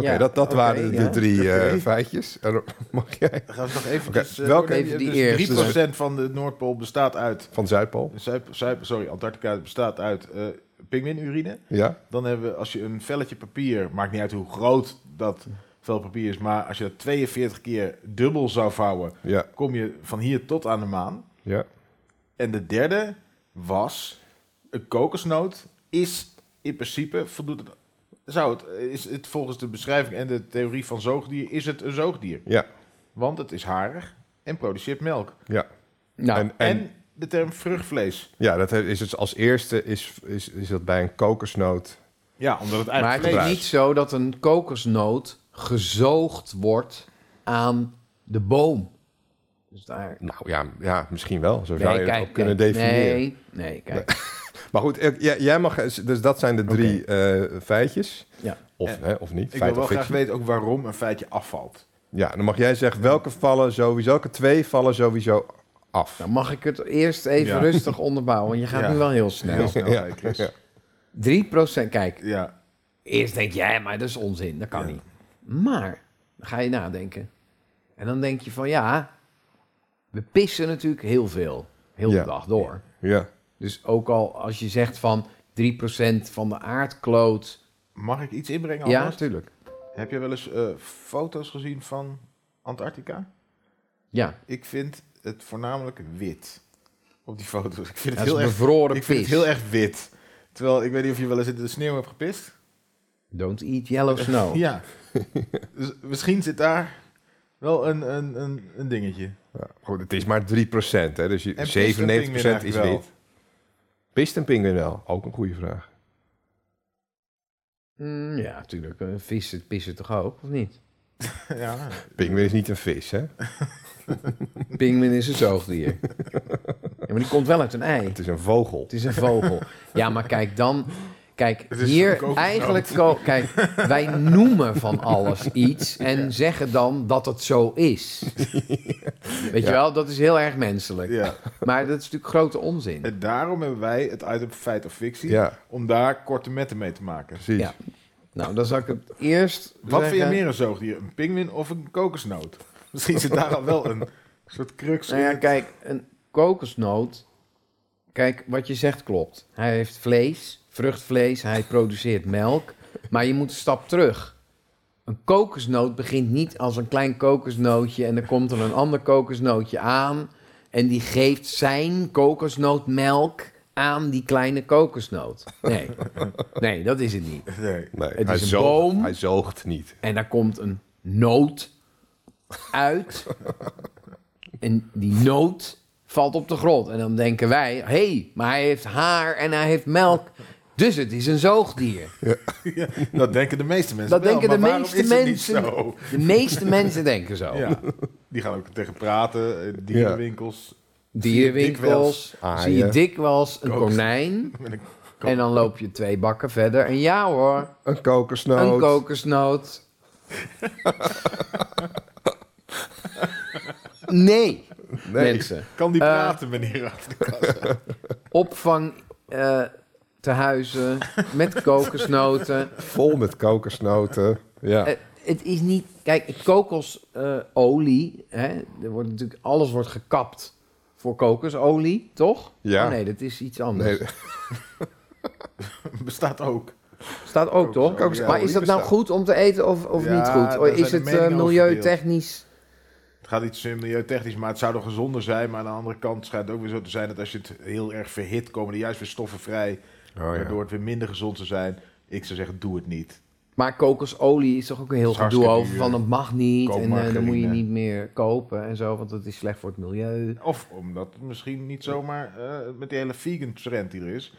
[SPEAKER 3] Ja,
[SPEAKER 1] dat, dat
[SPEAKER 3] oké,
[SPEAKER 1] waren de,
[SPEAKER 3] ja.
[SPEAKER 1] drie eh,
[SPEAKER 2] Oké.
[SPEAKER 1] feitjes. En *laughs* dan mag jij
[SPEAKER 2] Dan gaan we nog even... dus, eh,
[SPEAKER 1] Oké, welke-
[SPEAKER 3] Even die eerste.
[SPEAKER 2] 3% van de Noordpool bestaat uit...
[SPEAKER 1] van Zuidpool.
[SPEAKER 2] Zuip, Zuip- sorry, Antarctica bestaat uit eh pinguïnurine.
[SPEAKER 1] Ja,
[SPEAKER 2] Dan hebben we, als je een velletje papier, maakt niet uit hoe groot dat vel papier is, maar als je dat 42 keer dubbel zou vouwen,
[SPEAKER 1] ja,
[SPEAKER 2] kom je van hier tot aan de maan.
[SPEAKER 1] ja.
[SPEAKER 2] En de derde was, een kokosnoot is in principe, voldoet het, zou het, is het volgens de beschrijving en de theorie van zoogdier, is het een zoogdier.
[SPEAKER 1] Ja,
[SPEAKER 2] Want het is harig en produceert melk.
[SPEAKER 1] ja.
[SPEAKER 3] Nou,
[SPEAKER 1] en, en,
[SPEAKER 2] En, de term vruchtvlees.
[SPEAKER 1] ja, dat he- is het als eerste is, is, is dat bij een kokosnoot.
[SPEAKER 2] Ja, omdat het
[SPEAKER 3] maar
[SPEAKER 2] eigenlijk
[SPEAKER 3] het
[SPEAKER 2] vlees
[SPEAKER 3] is
[SPEAKER 1] gebruikt.
[SPEAKER 3] niet zo dat een kokosnoot gezoogd wordt aan de boom. Dus daar...
[SPEAKER 1] Nou ja, ja misschien wel. Zo zou
[SPEAKER 3] Nee,
[SPEAKER 1] je
[SPEAKER 3] kijk,
[SPEAKER 1] het ook kunnen
[SPEAKER 3] kijk,
[SPEAKER 1] definiëren.
[SPEAKER 3] Nee, nee, kijk.
[SPEAKER 1] Maar goed, eh, jij, jij mag, dus dat zijn de drie eh, feitjes.
[SPEAKER 3] Ja.
[SPEAKER 1] Of,
[SPEAKER 2] En-
[SPEAKER 1] hè, of niet.
[SPEAKER 2] Ik
[SPEAKER 1] Feit
[SPEAKER 2] wil wel
[SPEAKER 1] of
[SPEAKER 2] graag
[SPEAKER 1] fictie.
[SPEAKER 2] weten ook waarom een feitje afvalt.
[SPEAKER 1] Ja, dan mag jij zeggen welke vallen sowieso, welke twee vallen sowieso af.
[SPEAKER 3] Dan mag ik het eerst even
[SPEAKER 2] Ja.
[SPEAKER 3] rustig onderbouwen, want je gaat
[SPEAKER 2] Ja.
[SPEAKER 3] nu wel heel snel.
[SPEAKER 2] Heel snel,
[SPEAKER 1] Ja.
[SPEAKER 2] hè, Chris.
[SPEAKER 1] *laughs* Ja.
[SPEAKER 3] 3%, kijk,
[SPEAKER 2] Ja,
[SPEAKER 3] Eerst denk je, ja, maar dat is onzin, dat kan niet. Maar dan ga je nadenken. En dan denk je van, ja, we pissen natuurlijk heel veel, heel
[SPEAKER 1] Ja.
[SPEAKER 3] de dag door.
[SPEAKER 1] Ja.
[SPEAKER 3] Dus ook al als je zegt van 3% van de aardkloot.
[SPEAKER 2] Mag ik iets inbrengen?
[SPEAKER 3] ja,
[SPEAKER 2] alvast?
[SPEAKER 3] natuurlijk.
[SPEAKER 2] Heb je wel eens eh, foto's gezien van Antarctica?
[SPEAKER 3] Ja,
[SPEAKER 2] Ik vind het voornamelijk wit op die foto's. Ik vind het,
[SPEAKER 3] dat is
[SPEAKER 2] heel, erg,
[SPEAKER 3] bevroren
[SPEAKER 2] ik vind het
[SPEAKER 3] pis.
[SPEAKER 2] heel erg wit. Terwijl, ik weet niet of je wel eens in de sneeuw hebt gepist.
[SPEAKER 3] Don't eat yellow
[SPEAKER 1] *laughs*
[SPEAKER 3] snow.
[SPEAKER 2] Ja. dus misschien zit daar wel een, een, een, een dingetje.
[SPEAKER 1] Ja, Goed, het is maar 3%. Hè, dus je,
[SPEAKER 2] En
[SPEAKER 1] 97% is
[SPEAKER 2] pist een pinguïn
[SPEAKER 1] wit. Pist een pinguïn wel? Ook een goede vraag.
[SPEAKER 3] Mm, ja, natuurlijk. Eh, Vissen pissen toch ook, of niet?
[SPEAKER 2] *laughs* ja.
[SPEAKER 1] Pinguïn is niet een vis, hè?
[SPEAKER 3] Pinguïn is een zoogdier. ja, maar die komt wel uit een ei.
[SPEAKER 1] Het is een vogel.
[SPEAKER 3] Het is een vogel. Ja, maar kijk dan. Kijk,
[SPEAKER 2] is een
[SPEAKER 3] hier
[SPEAKER 2] kokosnoot.
[SPEAKER 3] eigenlijk. ko- Kijk, wij noemen van alles iets en zeggen dan dat het zo is. Weet je wel, dat is heel erg menselijk.
[SPEAKER 2] ja.
[SPEAKER 3] Maar dat is natuurlijk grote onzin.
[SPEAKER 2] En daarom hebben wij het item feit of fictie.
[SPEAKER 1] Ja,
[SPEAKER 2] Om daar korte metten mee te maken.
[SPEAKER 1] precies.
[SPEAKER 3] Ja. Nou, dan zal ik het eerst.
[SPEAKER 2] Wat vind je
[SPEAKER 3] zeggen.
[SPEAKER 2] meer een zoogdier? Een pinguïn of een kokosnoot? *laughs* Misschien zit daar al wel een soort crux
[SPEAKER 3] Nou
[SPEAKER 2] in.
[SPEAKER 3] ja,
[SPEAKER 2] het-
[SPEAKER 3] kijk, een kokosnoot. Kijk, wat je zegt klopt. Hij heeft vlees, vruchtvlees, hij produceert melk. Maar je moet een stap terug. Een kokosnoot begint niet als een klein kokosnootje en er komt er een ander kokosnootje aan. En die geeft zijn kokosnootmelk aan die kleine kokosnoot. Nee, nee dat is het niet.
[SPEAKER 2] Nee.
[SPEAKER 1] Nee,
[SPEAKER 3] Het
[SPEAKER 1] hij
[SPEAKER 3] is een
[SPEAKER 1] zoogt-
[SPEAKER 3] boom.
[SPEAKER 1] Hij zoogt niet.
[SPEAKER 3] En daar komt een noot
[SPEAKER 2] *laughs*
[SPEAKER 3] uit. en die noot valt op de grond. En dan denken wij, hé, hey, maar hij heeft haar en hij heeft melk. Dus het is een zoogdier.
[SPEAKER 2] *laughs* Ja, dat denken de meeste mensen
[SPEAKER 3] Dat
[SPEAKER 2] wel,
[SPEAKER 3] denken de
[SPEAKER 2] maar waarom
[SPEAKER 3] meeste
[SPEAKER 2] is het
[SPEAKER 3] mensen.
[SPEAKER 2] Niet zo?
[SPEAKER 3] De meeste mensen denken zo.
[SPEAKER 2] *laughs* Ja, die gaan ook tegen praten, eh, dierenwinkels.
[SPEAKER 3] Dierenwinkels,
[SPEAKER 1] Aaien.
[SPEAKER 3] zie je dikwijls een
[SPEAKER 2] Kokos-
[SPEAKER 3] konijn.
[SPEAKER 2] Met een ko-
[SPEAKER 3] En dan loop je twee bakken verder. En ja hoor,
[SPEAKER 1] Een
[SPEAKER 3] een
[SPEAKER 1] kokosnoot.
[SPEAKER 2] *laughs*
[SPEAKER 3] kokosnoot. Nee,
[SPEAKER 1] Nee.
[SPEAKER 3] mensen.
[SPEAKER 2] Kan die
[SPEAKER 3] Eh,
[SPEAKER 2] praten, meneer *laughs* achter de kassa?
[SPEAKER 3] opvang eh te huizen
[SPEAKER 1] *laughs*
[SPEAKER 3] met kokosnoten.
[SPEAKER 1] Vol met kokosnoten. Ja.
[SPEAKER 3] Eh, het is niet, kijk, kokosolie, hè, er wordt natuurlijk alles wordt gekapt voor kokosolie, toch?
[SPEAKER 1] Ja.
[SPEAKER 3] Oh nee, dat is iets anders.
[SPEAKER 1] Nee,
[SPEAKER 2] Bestaat ook.
[SPEAKER 3] Staat ook toch?
[SPEAKER 2] Kokosolie
[SPEAKER 3] maar is dat nou
[SPEAKER 2] bestaat.
[SPEAKER 3] goed om te eten of, of
[SPEAKER 2] Ja,
[SPEAKER 3] niet goed?
[SPEAKER 2] daar
[SPEAKER 3] Of Is
[SPEAKER 2] zijn
[SPEAKER 3] het
[SPEAKER 2] de
[SPEAKER 3] eh,
[SPEAKER 2] meningen over
[SPEAKER 3] milieutechnisch?
[SPEAKER 2] Het gaat iets eh, milieutechnisch, maar het zou nog gezonder zijn. Maar aan de andere kant schijnt het ook weer zo te zijn dat als je het heel erg verhit, komen er juist weer stoffen vrij.
[SPEAKER 1] Oh, ja.
[SPEAKER 2] Waardoor het weer minder gezond zou zijn. Ik zou zeggen, doe het niet.
[SPEAKER 3] Maar kokosolie is toch ook een heel
[SPEAKER 2] Is
[SPEAKER 3] gedoe
[SPEAKER 2] hartstikke
[SPEAKER 3] over
[SPEAKER 2] duur.
[SPEAKER 3] van het mag niet
[SPEAKER 2] Koop
[SPEAKER 3] en eh, dan moet je
[SPEAKER 2] margarine.
[SPEAKER 3] niet meer kopen en zo, want dat is slecht voor het milieu.
[SPEAKER 2] Of omdat het misschien niet zomaar eh, met die hele vegan trend die er is.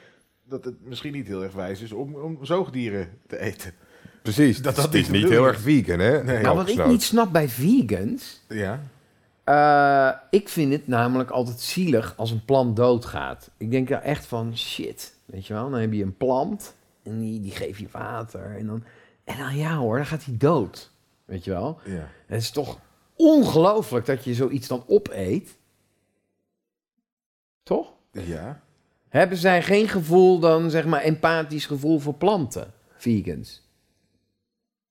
[SPEAKER 2] Dat het misschien niet heel erg wijs is om, om zoogdieren te eten.
[SPEAKER 1] precies.
[SPEAKER 2] Dat-
[SPEAKER 1] Dat,
[SPEAKER 2] dat
[SPEAKER 1] het
[SPEAKER 2] is
[SPEAKER 1] is
[SPEAKER 2] de
[SPEAKER 1] niet heel
[SPEAKER 2] bedoeling.
[SPEAKER 1] erg vegan, hè?
[SPEAKER 2] Nee.
[SPEAKER 3] Nou, wat ik
[SPEAKER 1] kokosnoot.
[SPEAKER 3] niet snap bij vegans,
[SPEAKER 2] Ja.
[SPEAKER 3] Eh, ik vind het namelijk altijd zielig als een plant doodgaat. Ik denk daar echt van shit. Weet je wel, dan heb je een plant en die, die geef je water. En dan, en dan ja hoor, dan gaat hij dood. Weet je wel?
[SPEAKER 2] ja.
[SPEAKER 3] Het is toch ongelooflijk dat je zoiets dan opeet. Toch?
[SPEAKER 2] Ja.
[SPEAKER 3] Hebben zij geen gevoel dan, zeg maar, empathisch gevoel voor planten? Vegans.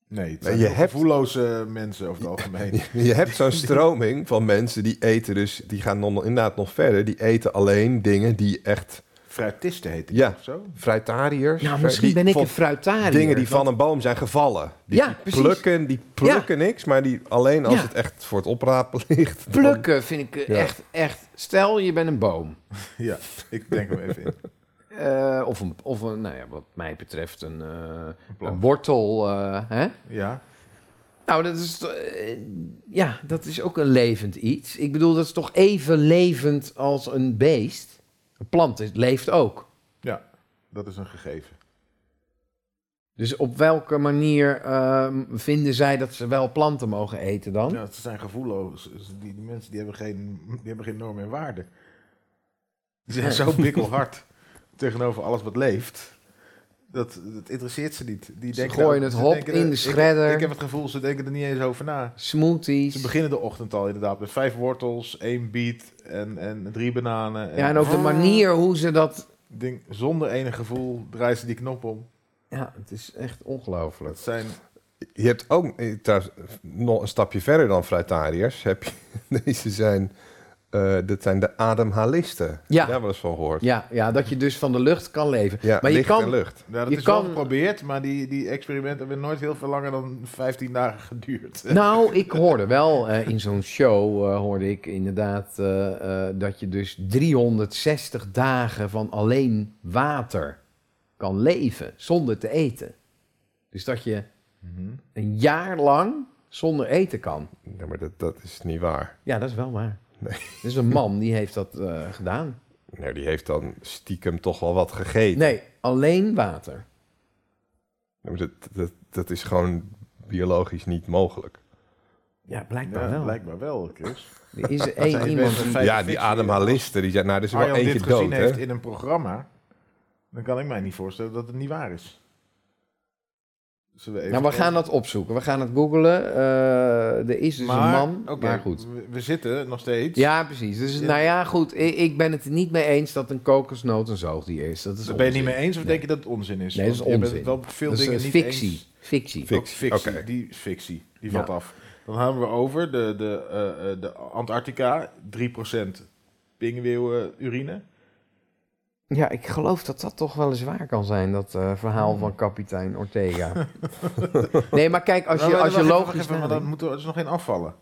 [SPEAKER 2] Nee, het
[SPEAKER 1] Nee,
[SPEAKER 2] zijn
[SPEAKER 1] je
[SPEAKER 2] heel
[SPEAKER 1] hebt-
[SPEAKER 2] gevoelloze mensen over het algemeen.
[SPEAKER 1] Je hebt zo'n stroming van mensen die eten dus... Die gaan dan inderdaad nog verder. Die eten alleen dingen die echt...
[SPEAKER 2] Fruitisten heet ik
[SPEAKER 1] Ja.
[SPEAKER 2] of zo.
[SPEAKER 1] Fruitariërs.
[SPEAKER 3] Nou,
[SPEAKER 1] ver-
[SPEAKER 3] misschien
[SPEAKER 1] die
[SPEAKER 3] ben ik
[SPEAKER 1] van
[SPEAKER 3] een fruitariër.
[SPEAKER 1] Dingen die van een boom zijn gevallen. Die,
[SPEAKER 3] Ja,
[SPEAKER 1] die
[SPEAKER 3] precies.
[SPEAKER 1] plukken, die plukken niks, maar die alleen als
[SPEAKER 3] Ja.
[SPEAKER 1] het echt voor het oprapen ligt. dan-
[SPEAKER 3] Plukken vind ik eh,
[SPEAKER 1] Ja.
[SPEAKER 3] echt, echt... Stel, je bent een boom.
[SPEAKER 2] Ja, ik denk hem even in.
[SPEAKER 3] Eh, of een, of een, nou ja, wat mij betreft, een, eh,
[SPEAKER 2] plant.
[SPEAKER 3] een wortel. eh, hè?
[SPEAKER 2] Ja,
[SPEAKER 3] Nou, dat is, to- eh, ja, dat is ook een levend iets. Ik bedoel, dat is toch even levend als een beest? Een plant is, leeft ook.
[SPEAKER 2] ja, dat is een gegeven.
[SPEAKER 3] Dus op welke manier eh, vinden zij dat ze wel planten mogen eten dan?
[SPEAKER 2] Ja, ze zijn gevoelloos. Dus Die, die mensen die hebben, geen, die hebben geen normen en waarden. Die zijn
[SPEAKER 3] *laughs*
[SPEAKER 2] zo bikkelhard tegenover alles wat leeft. Dat, dat interesseert ze niet. Die
[SPEAKER 3] Ze
[SPEAKER 2] denken
[SPEAKER 3] gooien
[SPEAKER 2] daar-
[SPEAKER 3] het
[SPEAKER 2] ze
[SPEAKER 3] hop
[SPEAKER 2] denken
[SPEAKER 3] in
[SPEAKER 2] er-
[SPEAKER 3] de
[SPEAKER 2] ik-
[SPEAKER 3] shredder.
[SPEAKER 2] Ik, heb het gevoel, ze denken er niet eens over na.
[SPEAKER 3] Smoothies.
[SPEAKER 2] Ze beginnen de ochtend al inderdaad met vijf wortels, één biet en, en drie bananen. En
[SPEAKER 3] Ja, en ook de manier hoe ze dat...
[SPEAKER 2] ding, zonder enig gevoel draaien ze die knop om.
[SPEAKER 3] Ja, het is echt ongelooflijk.
[SPEAKER 2] Dat zijn
[SPEAKER 1] Je hebt ook eh, trouwens, nog een stapje verder dan fruitariërs. Heb je, *laughs* deze zijn, eh dat zijn de ademhalisten.
[SPEAKER 3] Ja.
[SPEAKER 1] Daar wel eens van gehoord.
[SPEAKER 3] Ja, ja, dat je dus van de lucht kan leven.
[SPEAKER 1] Ja,
[SPEAKER 3] maar je
[SPEAKER 1] licht
[SPEAKER 3] kan,
[SPEAKER 1] en lucht.
[SPEAKER 2] Ja, dat
[SPEAKER 3] Je
[SPEAKER 2] is
[SPEAKER 3] kan-
[SPEAKER 2] wel geprobeerd, maar die, die experimenten hebben nooit heel veel langer dan 15 dagen geduurd.
[SPEAKER 3] Nou, ik hoorde wel eh, in zo'n show, eh, hoorde ik inderdaad, eh, eh, dat je dus 360 dagen van alleen water kan leven zonder te eten. Dus dat je een jaar lang zonder eten kan.
[SPEAKER 1] Ja, maar dat, dat is niet waar.
[SPEAKER 3] Ja, dat is wel waar.
[SPEAKER 1] Nee.
[SPEAKER 3] Er is een man die heeft dat eh, gedaan.
[SPEAKER 1] Nou, die heeft dan stiekem toch wel wat gegeten.
[SPEAKER 3] Nee, alleen water.
[SPEAKER 1] Ja, maar dat, dat, dat is gewoon biologisch niet mogelijk.
[SPEAKER 3] Ja, blijkbaar
[SPEAKER 2] Ja,
[SPEAKER 3] wel.
[SPEAKER 2] blijkbaar wel, Chris.
[SPEAKER 3] Er
[SPEAKER 2] *laughs*
[SPEAKER 3] is er
[SPEAKER 2] zijn
[SPEAKER 3] één iemand
[SPEAKER 2] best een
[SPEAKER 3] die...
[SPEAKER 2] Bij de
[SPEAKER 1] ja, die
[SPEAKER 2] fictie,
[SPEAKER 1] ademhalisten, die zijn, nou, er is er
[SPEAKER 2] Als
[SPEAKER 1] wel
[SPEAKER 2] je dit
[SPEAKER 1] eentje
[SPEAKER 2] gezien
[SPEAKER 1] dood, hè?
[SPEAKER 2] heeft in een programma, dan kan ik mij niet voorstellen dat het niet waar is. Zullen we even
[SPEAKER 3] Nou, we gaan dat opzoeken. We gaan het googlen. Eh, er is dus
[SPEAKER 2] maar,
[SPEAKER 3] een man.
[SPEAKER 2] oké,
[SPEAKER 3] Maar goed.
[SPEAKER 2] We, we zitten nog steeds.
[SPEAKER 3] Ja, precies. Dus nou ja, goed. Ik, ik ben het er niet mee eens dat een kokosnoot een zoogdier is. Dat is
[SPEAKER 2] Daar ben je
[SPEAKER 3] onzin.
[SPEAKER 2] niet mee eens of denk je dat het onzin is?
[SPEAKER 3] Nee, dat is
[SPEAKER 2] Want je bent
[SPEAKER 3] onzin.
[SPEAKER 2] het wel op veel
[SPEAKER 3] Dat is
[SPEAKER 2] dingen
[SPEAKER 3] eh,
[SPEAKER 2] niet
[SPEAKER 3] fictie.
[SPEAKER 2] eens.
[SPEAKER 3] Fictie.
[SPEAKER 1] Fic-
[SPEAKER 2] Ook fictie.
[SPEAKER 1] Oké.
[SPEAKER 2] Die is fictie. Die
[SPEAKER 3] Ja.
[SPEAKER 2] valt af. Dan hebben we over de, de, eh, eh, de Antarctica. 3% pinguïnurine.
[SPEAKER 3] Ja, ik geloof dat dat toch wel eens waar kan zijn, dat eh,
[SPEAKER 2] Hmm.
[SPEAKER 3] verhaal van kapitein
[SPEAKER 2] *laughs*
[SPEAKER 3] Ortega. nee, maar kijk, als je,
[SPEAKER 2] Nou,
[SPEAKER 3] als
[SPEAKER 2] wacht
[SPEAKER 3] je
[SPEAKER 2] even, wacht
[SPEAKER 3] logisch...
[SPEAKER 2] even, maar
[SPEAKER 3] nadenkt-
[SPEAKER 2] dan moeten we er is nog geen afvallen.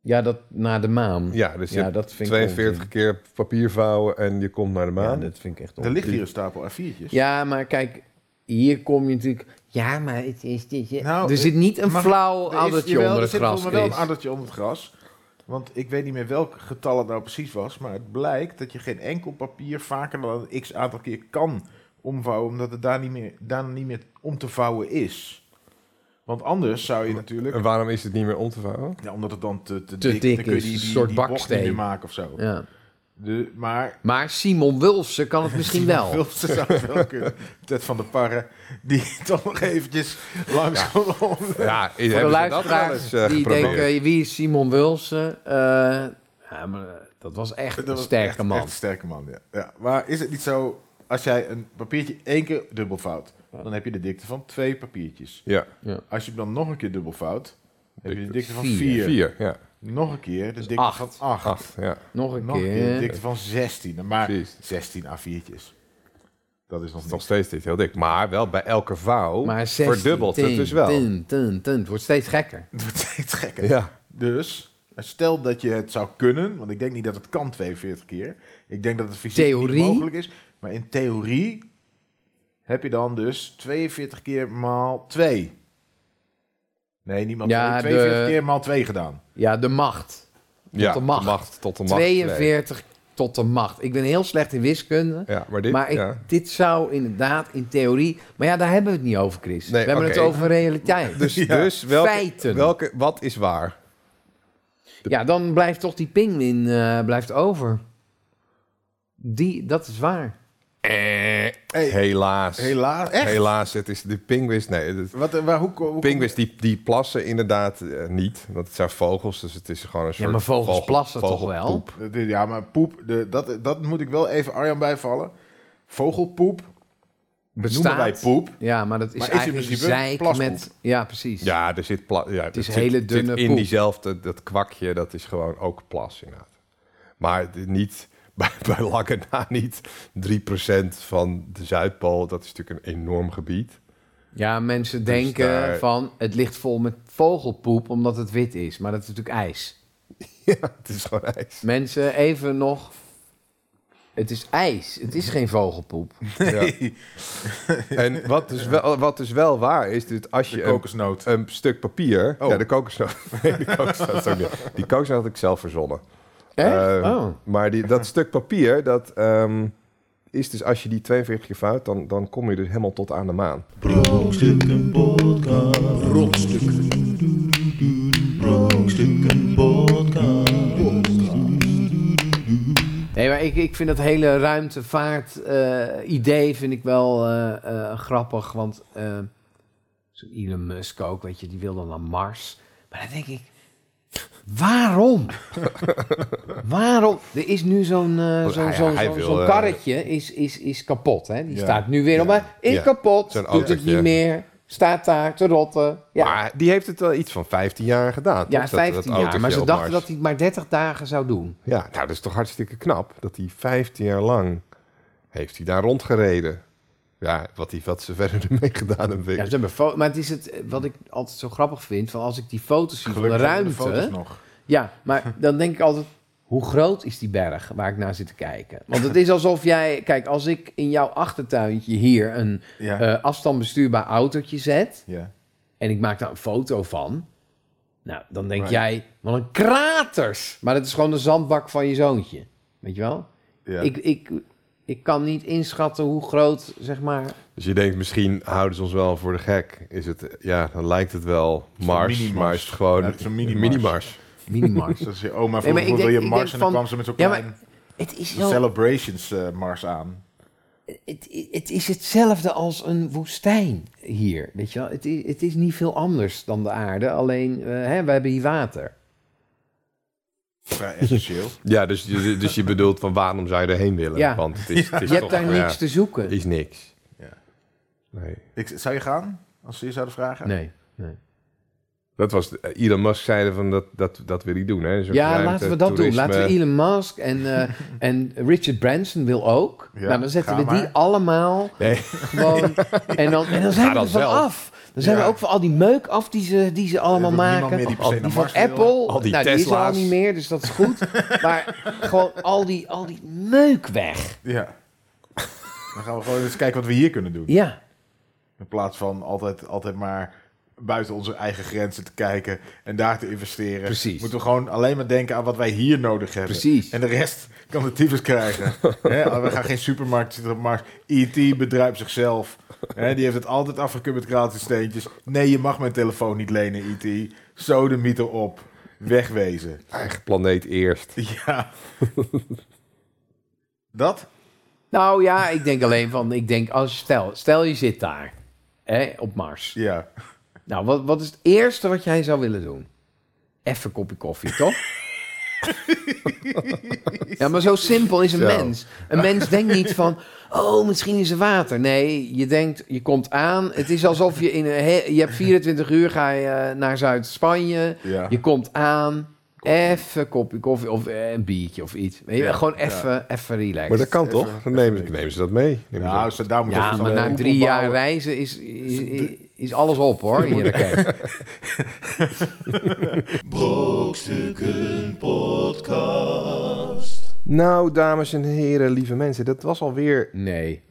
[SPEAKER 3] Ja, dat naar de maan.
[SPEAKER 1] Ja, dus je
[SPEAKER 3] Ja,
[SPEAKER 1] hebt
[SPEAKER 3] dat vind ik
[SPEAKER 1] 42
[SPEAKER 3] onzin.
[SPEAKER 1] keer papier vouwen en je komt naar de
[SPEAKER 3] Ja,
[SPEAKER 1] maan.
[SPEAKER 3] dat vind ik echt
[SPEAKER 2] Er ligt
[SPEAKER 3] onzin.
[SPEAKER 2] hier een stapel A4'tjes.
[SPEAKER 3] Ja, maar kijk, hier kom je natuurlijk... Ja, maar het is... dit-
[SPEAKER 2] Nou,
[SPEAKER 3] er zit niet een
[SPEAKER 2] mag-
[SPEAKER 3] flauw
[SPEAKER 2] Er is-
[SPEAKER 3] addertje
[SPEAKER 2] jawel,
[SPEAKER 3] onder
[SPEAKER 2] er
[SPEAKER 3] het
[SPEAKER 2] zit
[SPEAKER 3] gras,
[SPEAKER 2] volgens mij wel een
[SPEAKER 3] Chris.
[SPEAKER 2] addertje onder het gras. Want ik weet niet meer welk getal het nou precies was. Maar het blijkt dat je geen enkel papier vaker dan een x aantal keer kan omvouwen. Omdat het daar niet meer, daar niet meer om te vouwen is. Want anders zou je natuurlijk...
[SPEAKER 1] En waarom is het niet meer om te vouwen?
[SPEAKER 2] Ja, omdat het dan te, te,
[SPEAKER 3] Te
[SPEAKER 2] dik,
[SPEAKER 3] dik
[SPEAKER 2] dan kun je
[SPEAKER 3] is,
[SPEAKER 2] die,
[SPEAKER 3] een
[SPEAKER 2] die,
[SPEAKER 3] soort
[SPEAKER 2] die bocht niet
[SPEAKER 3] baksteen.
[SPEAKER 2] meer maken of zo.
[SPEAKER 3] Ja.
[SPEAKER 2] De, maar
[SPEAKER 3] Maar Simon Wulfsen kan
[SPEAKER 2] *laughs*
[SPEAKER 3] het misschien wel.
[SPEAKER 2] Wilfse zou het wel kunnen. Ted van der Parre, die *laughs* toch nog eventjes langs kon om-
[SPEAKER 1] Ja,
[SPEAKER 3] Voor de
[SPEAKER 1] hebben ze dat wel
[SPEAKER 3] luisteraars
[SPEAKER 1] eens eh,
[SPEAKER 3] die
[SPEAKER 1] geprobeerd?
[SPEAKER 3] denken, eh, wie is Simon Wulsen? Eh, ja, maar eh, dat was echt
[SPEAKER 2] Dat
[SPEAKER 3] een
[SPEAKER 2] was
[SPEAKER 3] sterke
[SPEAKER 2] echt-
[SPEAKER 3] man.
[SPEAKER 2] echt een sterke man, ja. ja. Maar is het niet zo, als jij een papiertje één keer dubbelfout, dan heb je de dikte van twee papiertjes.
[SPEAKER 1] Ja,
[SPEAKER 2] Als je hem dan nog een keer dubbelfout, heb je de dikte van
[SPEAKER 3] Vier.
[SPEAKER 2] vier.
[SPEAKER 1] vier, ja.
[SPEAKER 2] Nog een keer de dikte
[SPEAKER 3] acht.
[SPEAKER 2] van acht.
[SPEAKER 1] Acht, ja.
[SPEAKER 3] Nog een
[SPEAKER 2] Nog een
[SPEAKER 3] keer.
[SPEAKER 2] keer de dikte van 16. Maar
[SPEAKER 1] Precies.
[SPEAKER 2] 16 A4'tjes. Dat is nog
[SPEAKER 1] Nog
[SPEAKER 2] niks.
[SPEAKER 1] steeds dit heel dik. Maar wel bij elke vouw
[SPEAKER 3] maar 16,
[SPEAKER 1] verdubbelt het
[SPEAKER 3] tin,
[SPEAKER 1] dus wel.
[SPEAKER 3] tin, tin, tin. Het wordt steeds gekker.
[SPEAKER 2] Het *laughs* wordt steeds gekker.
[SPEAKER 1] Ja.
[SPEAKER 2] Dus, stel dat je het zou kunnen, want ik denk niet dat het kan 42 keer. Ik denk dat het fysiek
[SPEAKER 3] Theorie?
[SPEAKER 2] niet mogelijk is. Maar in theorie heb je dan dus 42 keer maal 2. Nee, niet maal
[SPEAKER 3] Ja,
[SPEAKER 2] 2. 42
[SPEAKER 3] de-
[SPEAKER 2] keer maal 2 gedaan.
[SPEAKER 3] Ja, de macht.
[SPEAKER 1] ja,
[SPEAKER 3] de macht.
[SPEAKER 1] Tot de macht. twee.
[SPEAKER 3] 42 tot de macht. Ik ben heel slecht in wiskunde.
[SPEAKER 1] Ja, maar dit...
[SPEAKER 3] maar ik,
[SPEAKER 1] ja.
[SPEAKER 3] dit zou inderdaad in theorie... Maar ja, daar hebben we het niet over, Chris.
[SPEAKER 1] Nee,
[SPEAKER 3] we hebben
[SPEAKER 1] oké.
[SPEAKER 3] het over realiteit.
[SPEAKER 1] Dus,
[SPEAKER 2] Ja.
[SPEAKER 1] dus welke,
[SPEAKER 3] Feiten.
[SPEAKER 1] welke... Wat is waar?
[SPEAKER 3] Ja, dan blijft toch die pinguïn eh, blijft over. Die, dat is waar. Eh,
[SPEAKER 1] Helaas.
[SPEAKER 2] Helaas, echt?
[SPEAKER 1] Helaas, het is de pinguïns. Nee, het,
[SPEAKER 2] Wat, eh, waar, hoe, hoe, hoe-
[SPEAKER 1] pinguïns die, die plassen inderdaad eh, niet. Want het zijn vogels, dus het is gewoon een soort...
[SPEAKER 3] maar vogels plassen toch
[SPEAKER 1] vogelpoep.
[SPEAKER 2] Dat is- Ja, maar poep, de, dat, dat moet ik wel even Arjan bijvallen. Vogelpoep
[SPEAKER 3] bestaat.
[SPEAKER 2] Noemen wij poep.
[SPEAKER 3] Ja, maar dat is
[SPEAKER 2] Maar is in
[SPEAKER 3] eigenlijk
[SPEAKER 2] principe
[SPEAKER 3] zeik
[SPEAKER 2] plaspoep.
[SPEAKER 3] met... Ja, precies.
[SPEAKER 1] Ja, er zit pla- ja, het
[SPEAKER 3] is
[SPEAKER 1] zit-
[SPEAKER 3] hele
[SPEAKER 1] zit
[SPEAKER 3] dunne
[SPEAKER 1] in
[SPEAKER 3] poep.
[SPEAKER 1] diezelfde, dat kwakje, dat is gewoon ook plas inderdaad. Maar de- niet, *laughs* bij, bij lange na niet 3% van de Zuidpool. Dat is natuurlijk een enorm gebied.
[SPEAKER 3] Ja, mensen denken
[SPEAKER 1] Dus daar-
[SPEAKER 3] van het ligt vol met vogelpoep omdat het wit is. Maar dat is natuurlijk ijs.
[SPEAKER 1] Ja, het is gewoon ijs.
[SPEAKER 3] Mensen, even nog. Het is ijs. Het is geen vogelpoep. *laughs*
[SPEAKER 1] Ja. En wat dus, wel, wat dus wel waar is, dit, als
[SPEAKER 2] De
[SPEAKER 1] je een,
[SPEAKER 2] kokosnoot.
[SPEAKER 3] eh,
[SPEAKER 1] een stuk papier...
[SPEAKER 2] Oh.
[SPEAKER 1] Ja, de kokosnoot. *laughs* Nee, de kokosnoot is ook niet. Die kokosnoot had ik zelf verzonnen.
[SPEAKER 3] Echt?
[SPEAKER 1] Eh,
[SPEAKER 3] oh.
[SPEAKER 1] Maar die, dat stuk papier, dat ehm, is dus als je die 42 keer fout, dan, dan kom je dus helemaal tot aan de maan.
[SPEAKER 4] Brokstukken podcast. Brokstukken. Brokstukken podcast.
[SPEAKER 3] Nee, maar ik, ik vind dat hele ruimtevaart-idee vind ik wel eh, eh, grappig. Want eh, zo'n Elon Musk ook, weet je, die wil dan naar Mars. Maar dan denk ik,
[SPEAKER 1] *laughs*
[SPEAKER 3] waarom? waarom? Er is nu zo'n eh,
[SPEAKER 1] Want
[SPEAKER 3] zo'n
[SPEAKER 1] hij-
[SPEAKER 3] zo'n
[SPEAKER 1] hij
[SPEAKER 3] zo'n-
[SPEAKER 1] wil,
[SPEAKER 3] zo'n
[SPEAKER 1] eh,
[SPEAKER 3] karretje is, is, is kapot. Hè? Die
[SPEAKER 2] Ja,
[SPEAKER 3] staat nu weer op, maar is
[SPEAKER 1] ja.
[SPEAKER 3] kapot,
[SPEAKER 1] Zo'n
[SPEAKER 3] doet het
[SPEAKER 1] autootje.
[SPEAKER 3] niet meer, staat daar te rotten. Ja,
[SPEAKER 1] Maar die heeft het wel iets van 15 jaar gedaan. toch?
[SPEAKER 3] ja
[SPEAKER 1] Dat-
[SPEAKER 3] 15
[SPEAKER 1] dat
[SPEAKER 3] jaar.
[SPEAKER 1] autootje
[SPEAKER 3] Maar ze
[SPEAKER 1] op
[SPEAKER 3] dachten
[SPEAKER 1] Mars.
[SPEAKER 3] dat hij het maar 30 dagen zou doen.
[SPEAKER 1] Ja, nou, dat is toch hartstikke knap. Dat hij 15 jaar lang heeft hij daar rondgereden. Ja, wat, hij, wat ze *laughs* verder ermee gedaan hebben. weet
[SPEAKER 3] Ja,
[SPEAKER 1] ik.
[SPEAKER 3] ze hebben fo- maar het is het, eh, wat ik altijd zo grappig vind, van als ik die foto's zie
[SPEAKER 2] Gelukkig
[SPEAKER 3] van de
[SPEAKER 2] hebben we de
[SPEAKER 3] ruimte.
[SPEAKER 2] foto's nog.
[SPEAKER 3] ja, maar *laughs* dan denk ik altijd, hoe groot is die berg waar ik naar zit te kijken? Want het is alsof jij, kijk, als ik in jouw achtertuintje hier een
[SPEAKER 2] Ja.
[SPEAKER 3] eh afstand bestuurbaar autootje zet
[SPEAKER 2] ja.
[SPEAKER 3] en ik maak daar een foto van. Nou, dan denk
[SPEAKER 2] Right.
[SPEAKER 3] jij, wat een kraters. Maar dat is gewoon de zandbak van je zoontje. Weet je wel?
[SPEAKER 2] ja.
[SPEAKER 3] Ik, ik, ik kan niet inschatten hoe groot, zeg maar,
[SPEAKER 1] Dus je denkt, misschien houden ze ons wel voor de gek. Is het, ja, dan lijkt het wel
[SPEAKER 2] is
[SPEAKER 1] Mars,
[SPEAKER 2] een mini-Mars.
[SPEAKER 1] maar is het gewoon
[SPEAKER 2] Ja, het is een mini-Mars.
[SPEAKER 1] mini-Mars.
[SPEAKER 3] minimars.
[SPEAKER 2] Dat is je oma
[SPEAKER 3] Nee,
[SPEAKER 2] vroeg,
[SPEAKER 3] maar ik
[SPEAKER 2] hoe wil
[SPEAKER 3] denk-
[SPEAKER 2] je
[SPEAKER 3] ik
[SPEAKER 2] Mars?
[SPEAKER 3] denk
[SPEAKER 2] En dan
[SPEAKER 3] van-
[SPEAKER 2] kwam ze met zo'n
[SPEAKER 3] Ja,
[SPEAKER 2] klein
[SPEAKER 3] het is heel
[SPEAKER 2] Celebrations eh, Mars aan.
[SPEAKER 3] het, het is hetzelfde als een woestijn hier. Weet je wel? Het, is, het is niet veel anders dan de aarde, alleen eh hè, we hebben hier water.
[SPEAKER 2] Vrij essentieel.
[SPEAKER 3] *laughs*
[SPEAKER 1] Ja, dus, je- dus je bedoelt van waarom zou je erheen willen?
[SPEAKER 3] Ja.
[SPEAKER 1] Want het is, het is
[SPEAKER 3] Je hebt
[SPEAKER 1] toch,
[SPEAKER 3] daar
[SPEAKER 1] ja,
[SPEAKER 3] niks te zoeken.
[SPEAKER 1] is niks.
[SPEAKER 2] Ja.
[SPEAKER 1] Nee.
[SPEAKER 2] Ik, zou je gaan? Als ze je zouden vragen?
[SPEAKER 3] Nee.
[SPEAKER 1] Dat was, eh, Elon Musk zeiden van dat, dat, dat wil hij doen. Hè? Een soort
[SPEAKER 3] Ja,
[SPEAKER 1] ruimte,
[SPEAKER 3] laten we dat doen.
[SPEAKER 1] toerisme.
[SPEAKER 3] Laten we Elon Musk en, eh, en Richard Branson wil ook.
[SPEAKER 2] Ja,
[SPEAKER 3] nou, dan zetten
[SPEAKER 2] ga
[SPEAKER 3] we die
[SPEAKER 2] maar.
[SPEAKER 3] allemaal
[SPEAKER 1] Nee. *laughs*
[SPEAKER 2] *laughs*
[SPEAKER 3] gewoon... En dan, en
[SPEAKER 1] Ga
[SPEAKER 3] dan zijn we
[SPEAKER 1] dan
[SPEAKER 3] er van
[SPEAKER 1] zelf.
[SPEAKER 3] af. Dan zijn
[SPEAKER 2] Ja.
[SPEAKER 3] we ook van al die meuk af die ze, die ze allemaal
[SPEAKER 2] wil niemand
[SPEAKER 3] maken.
[SPEAKER 2] meer die per se naar
[SPEAKER 3] van
[SPEAKER 2] Mars wil.
[SPEAKER 3] Apple,
[SPEAKER 1] Al die
[SPEAKER 3] nou, die is er al
[SPEAKER 1] Tesla's.
[SPEAKER 3] niet meer, dus dat is goed. *laughs* maar gewoon al die, al die meuk weg.
[SPEAKER 2] Ja. Dan gaan we gewoon eens kijken wat we hier kunnen doen.
[SPEAKER 3] Ja.
[SPEAKER 2] In plaats van altijd, altijd maar buiten onze eigen grenzen te kijken en daar te investeren.
[SPEAKER 3] Precies.
[SPEAKER 2] Moeten we gewoon alleen maar denken aan wat wij hier nodig hebben.
[SPEAKER 3] Precies.
[SPEAKER 2] En de rest kan de tyfus
[SPEAKER 3] *laughs*
[SPEAKER 2] krijgen. Hè, we gaan geen supermarkt zitten op Mars. E.T. bedruipt zichzelf. Hè, die heeft het altijd afgekupt met gratis steentjes. Nee, je mag mijn telefoon niet lenen, E.T. Zo de mythe op. Wegwezen.
[SPEAKER 1] Eigen planeet eerst.
[SPEAKER 2] *laughs* Ja. Dat?
[SPEAKER 3] Nou ja, ik denk alleen van, ik denk als stel, stel je zit daar, hè, op Mars.
[SPEAKER 2] Ja.
[SPEAKER 3] Nou, wat, wat is het eerste wat jij zou willen doen? Even een kopje koffie, toch? ja, maar zo simpel is een
[SPEAKER 1] Zo.
[SPEAKER 3] mens. Een mens denkt niet van, oh, misschien is er water. Nee, je denkt, je komt aan. Het is alsof je in een, he- je hebt 24 uur ga je eh, naar Zuid-Spanje.
[SPEAKER 2] Ja.
[SPEAKER 3] Je komt aan. Even een kopje koffie of eh, een biertje of iets. Weet je,
[SPEAKER 2] Ja,
[SPEAKER 3] gewoon
[SPEAKER 2] ja.
[SPEAKER 3] even, even relaxen.
[SPEAKER 1] Maar dat kan
[SPEAKER 2] Even-
[SPEAKER 1] toch? Dan nemen, ze- nemen ze dat mee. Nemen ze
[SPEAKER 2] Nou, ze- daar moet
[SPEAKER 3] Ja,
[SPEAKER 2] even
[SPEAKER 3] maar
[SPEAKER 2] zo'n
[SPEAKER 3] na
[SPEAKER 2] groep
[SPEAKER 3] drie
[SPEAKER 2] opbouwen.
[SPEAKER 3] jaar reizen is, is, is alles op hoor. in je raket.
[SPEAKER 4] Brokstukken podcast.
[SPEAKER 1] Nou, dames en heren, lieve mensen, dat was alweer.
[SPEAKER 3] Nee.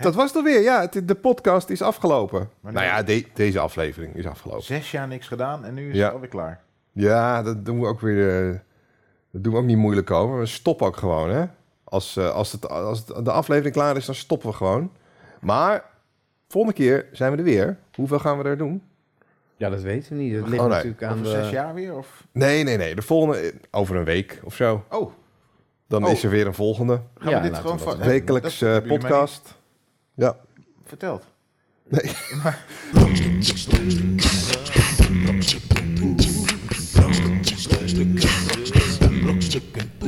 [SPEAKER 1] Dat was het alweer, ja. Het, de podcast is afgelopen.
[SPEAKER 2] Wanneer?
[SPEAKER 1] Nou ja, de- deze aflevering is afgelopen.
[SPEAKER 2] Zes jaar niks gedaan en nu is
[SPEAKER 1] Ja.
[SPEAKER 2] het alweer klaar.
[SPEAKER 1] Ja, dat doen we ook weer. eh, dat doen we ook niet moeilijk over. We stoppen ook gewoon, hè? Als, eh, als, het, als het- de aflevering klaar is, dan stoppen we gewoon. Maar volgende keer zijn we er weer. Hoeveel gaan we er doen?
[SPEAKER 3] Ja, dat weten we niet. Dat ligt
[SPEAKER 1] Oh, nee.
[SPEAKER 3] natuurlijk aan
[SPEAKER 2] Over
[SPEAKER 3] de...
[SPEAKER 2] zes jaar weer? Of?
[SPEAKER 1] Nee, nee, nee. De volgende eh, over een week of zo.
[SPEAKER 2] Oh,
[SPEAKER 1] Dan
[SPEAKER 2] Oh.
[SPEAKER 1] is er weer een volgende
[SPEAKER 2] gaan
[SPEAKER 3] Ja,
[SPEAKER 2] we dit
[SPEAKER 3] laten
[SPEAKER 2] gewoon
[SPEAKER 3] we dat
[SPEAKER 2] van...
[SPEAKER 1] wekelijks eh, podcast. Ja.
[SPEAKER 2] Verteld.
[SPEAKER 4] Brokstukken. Brokstukken.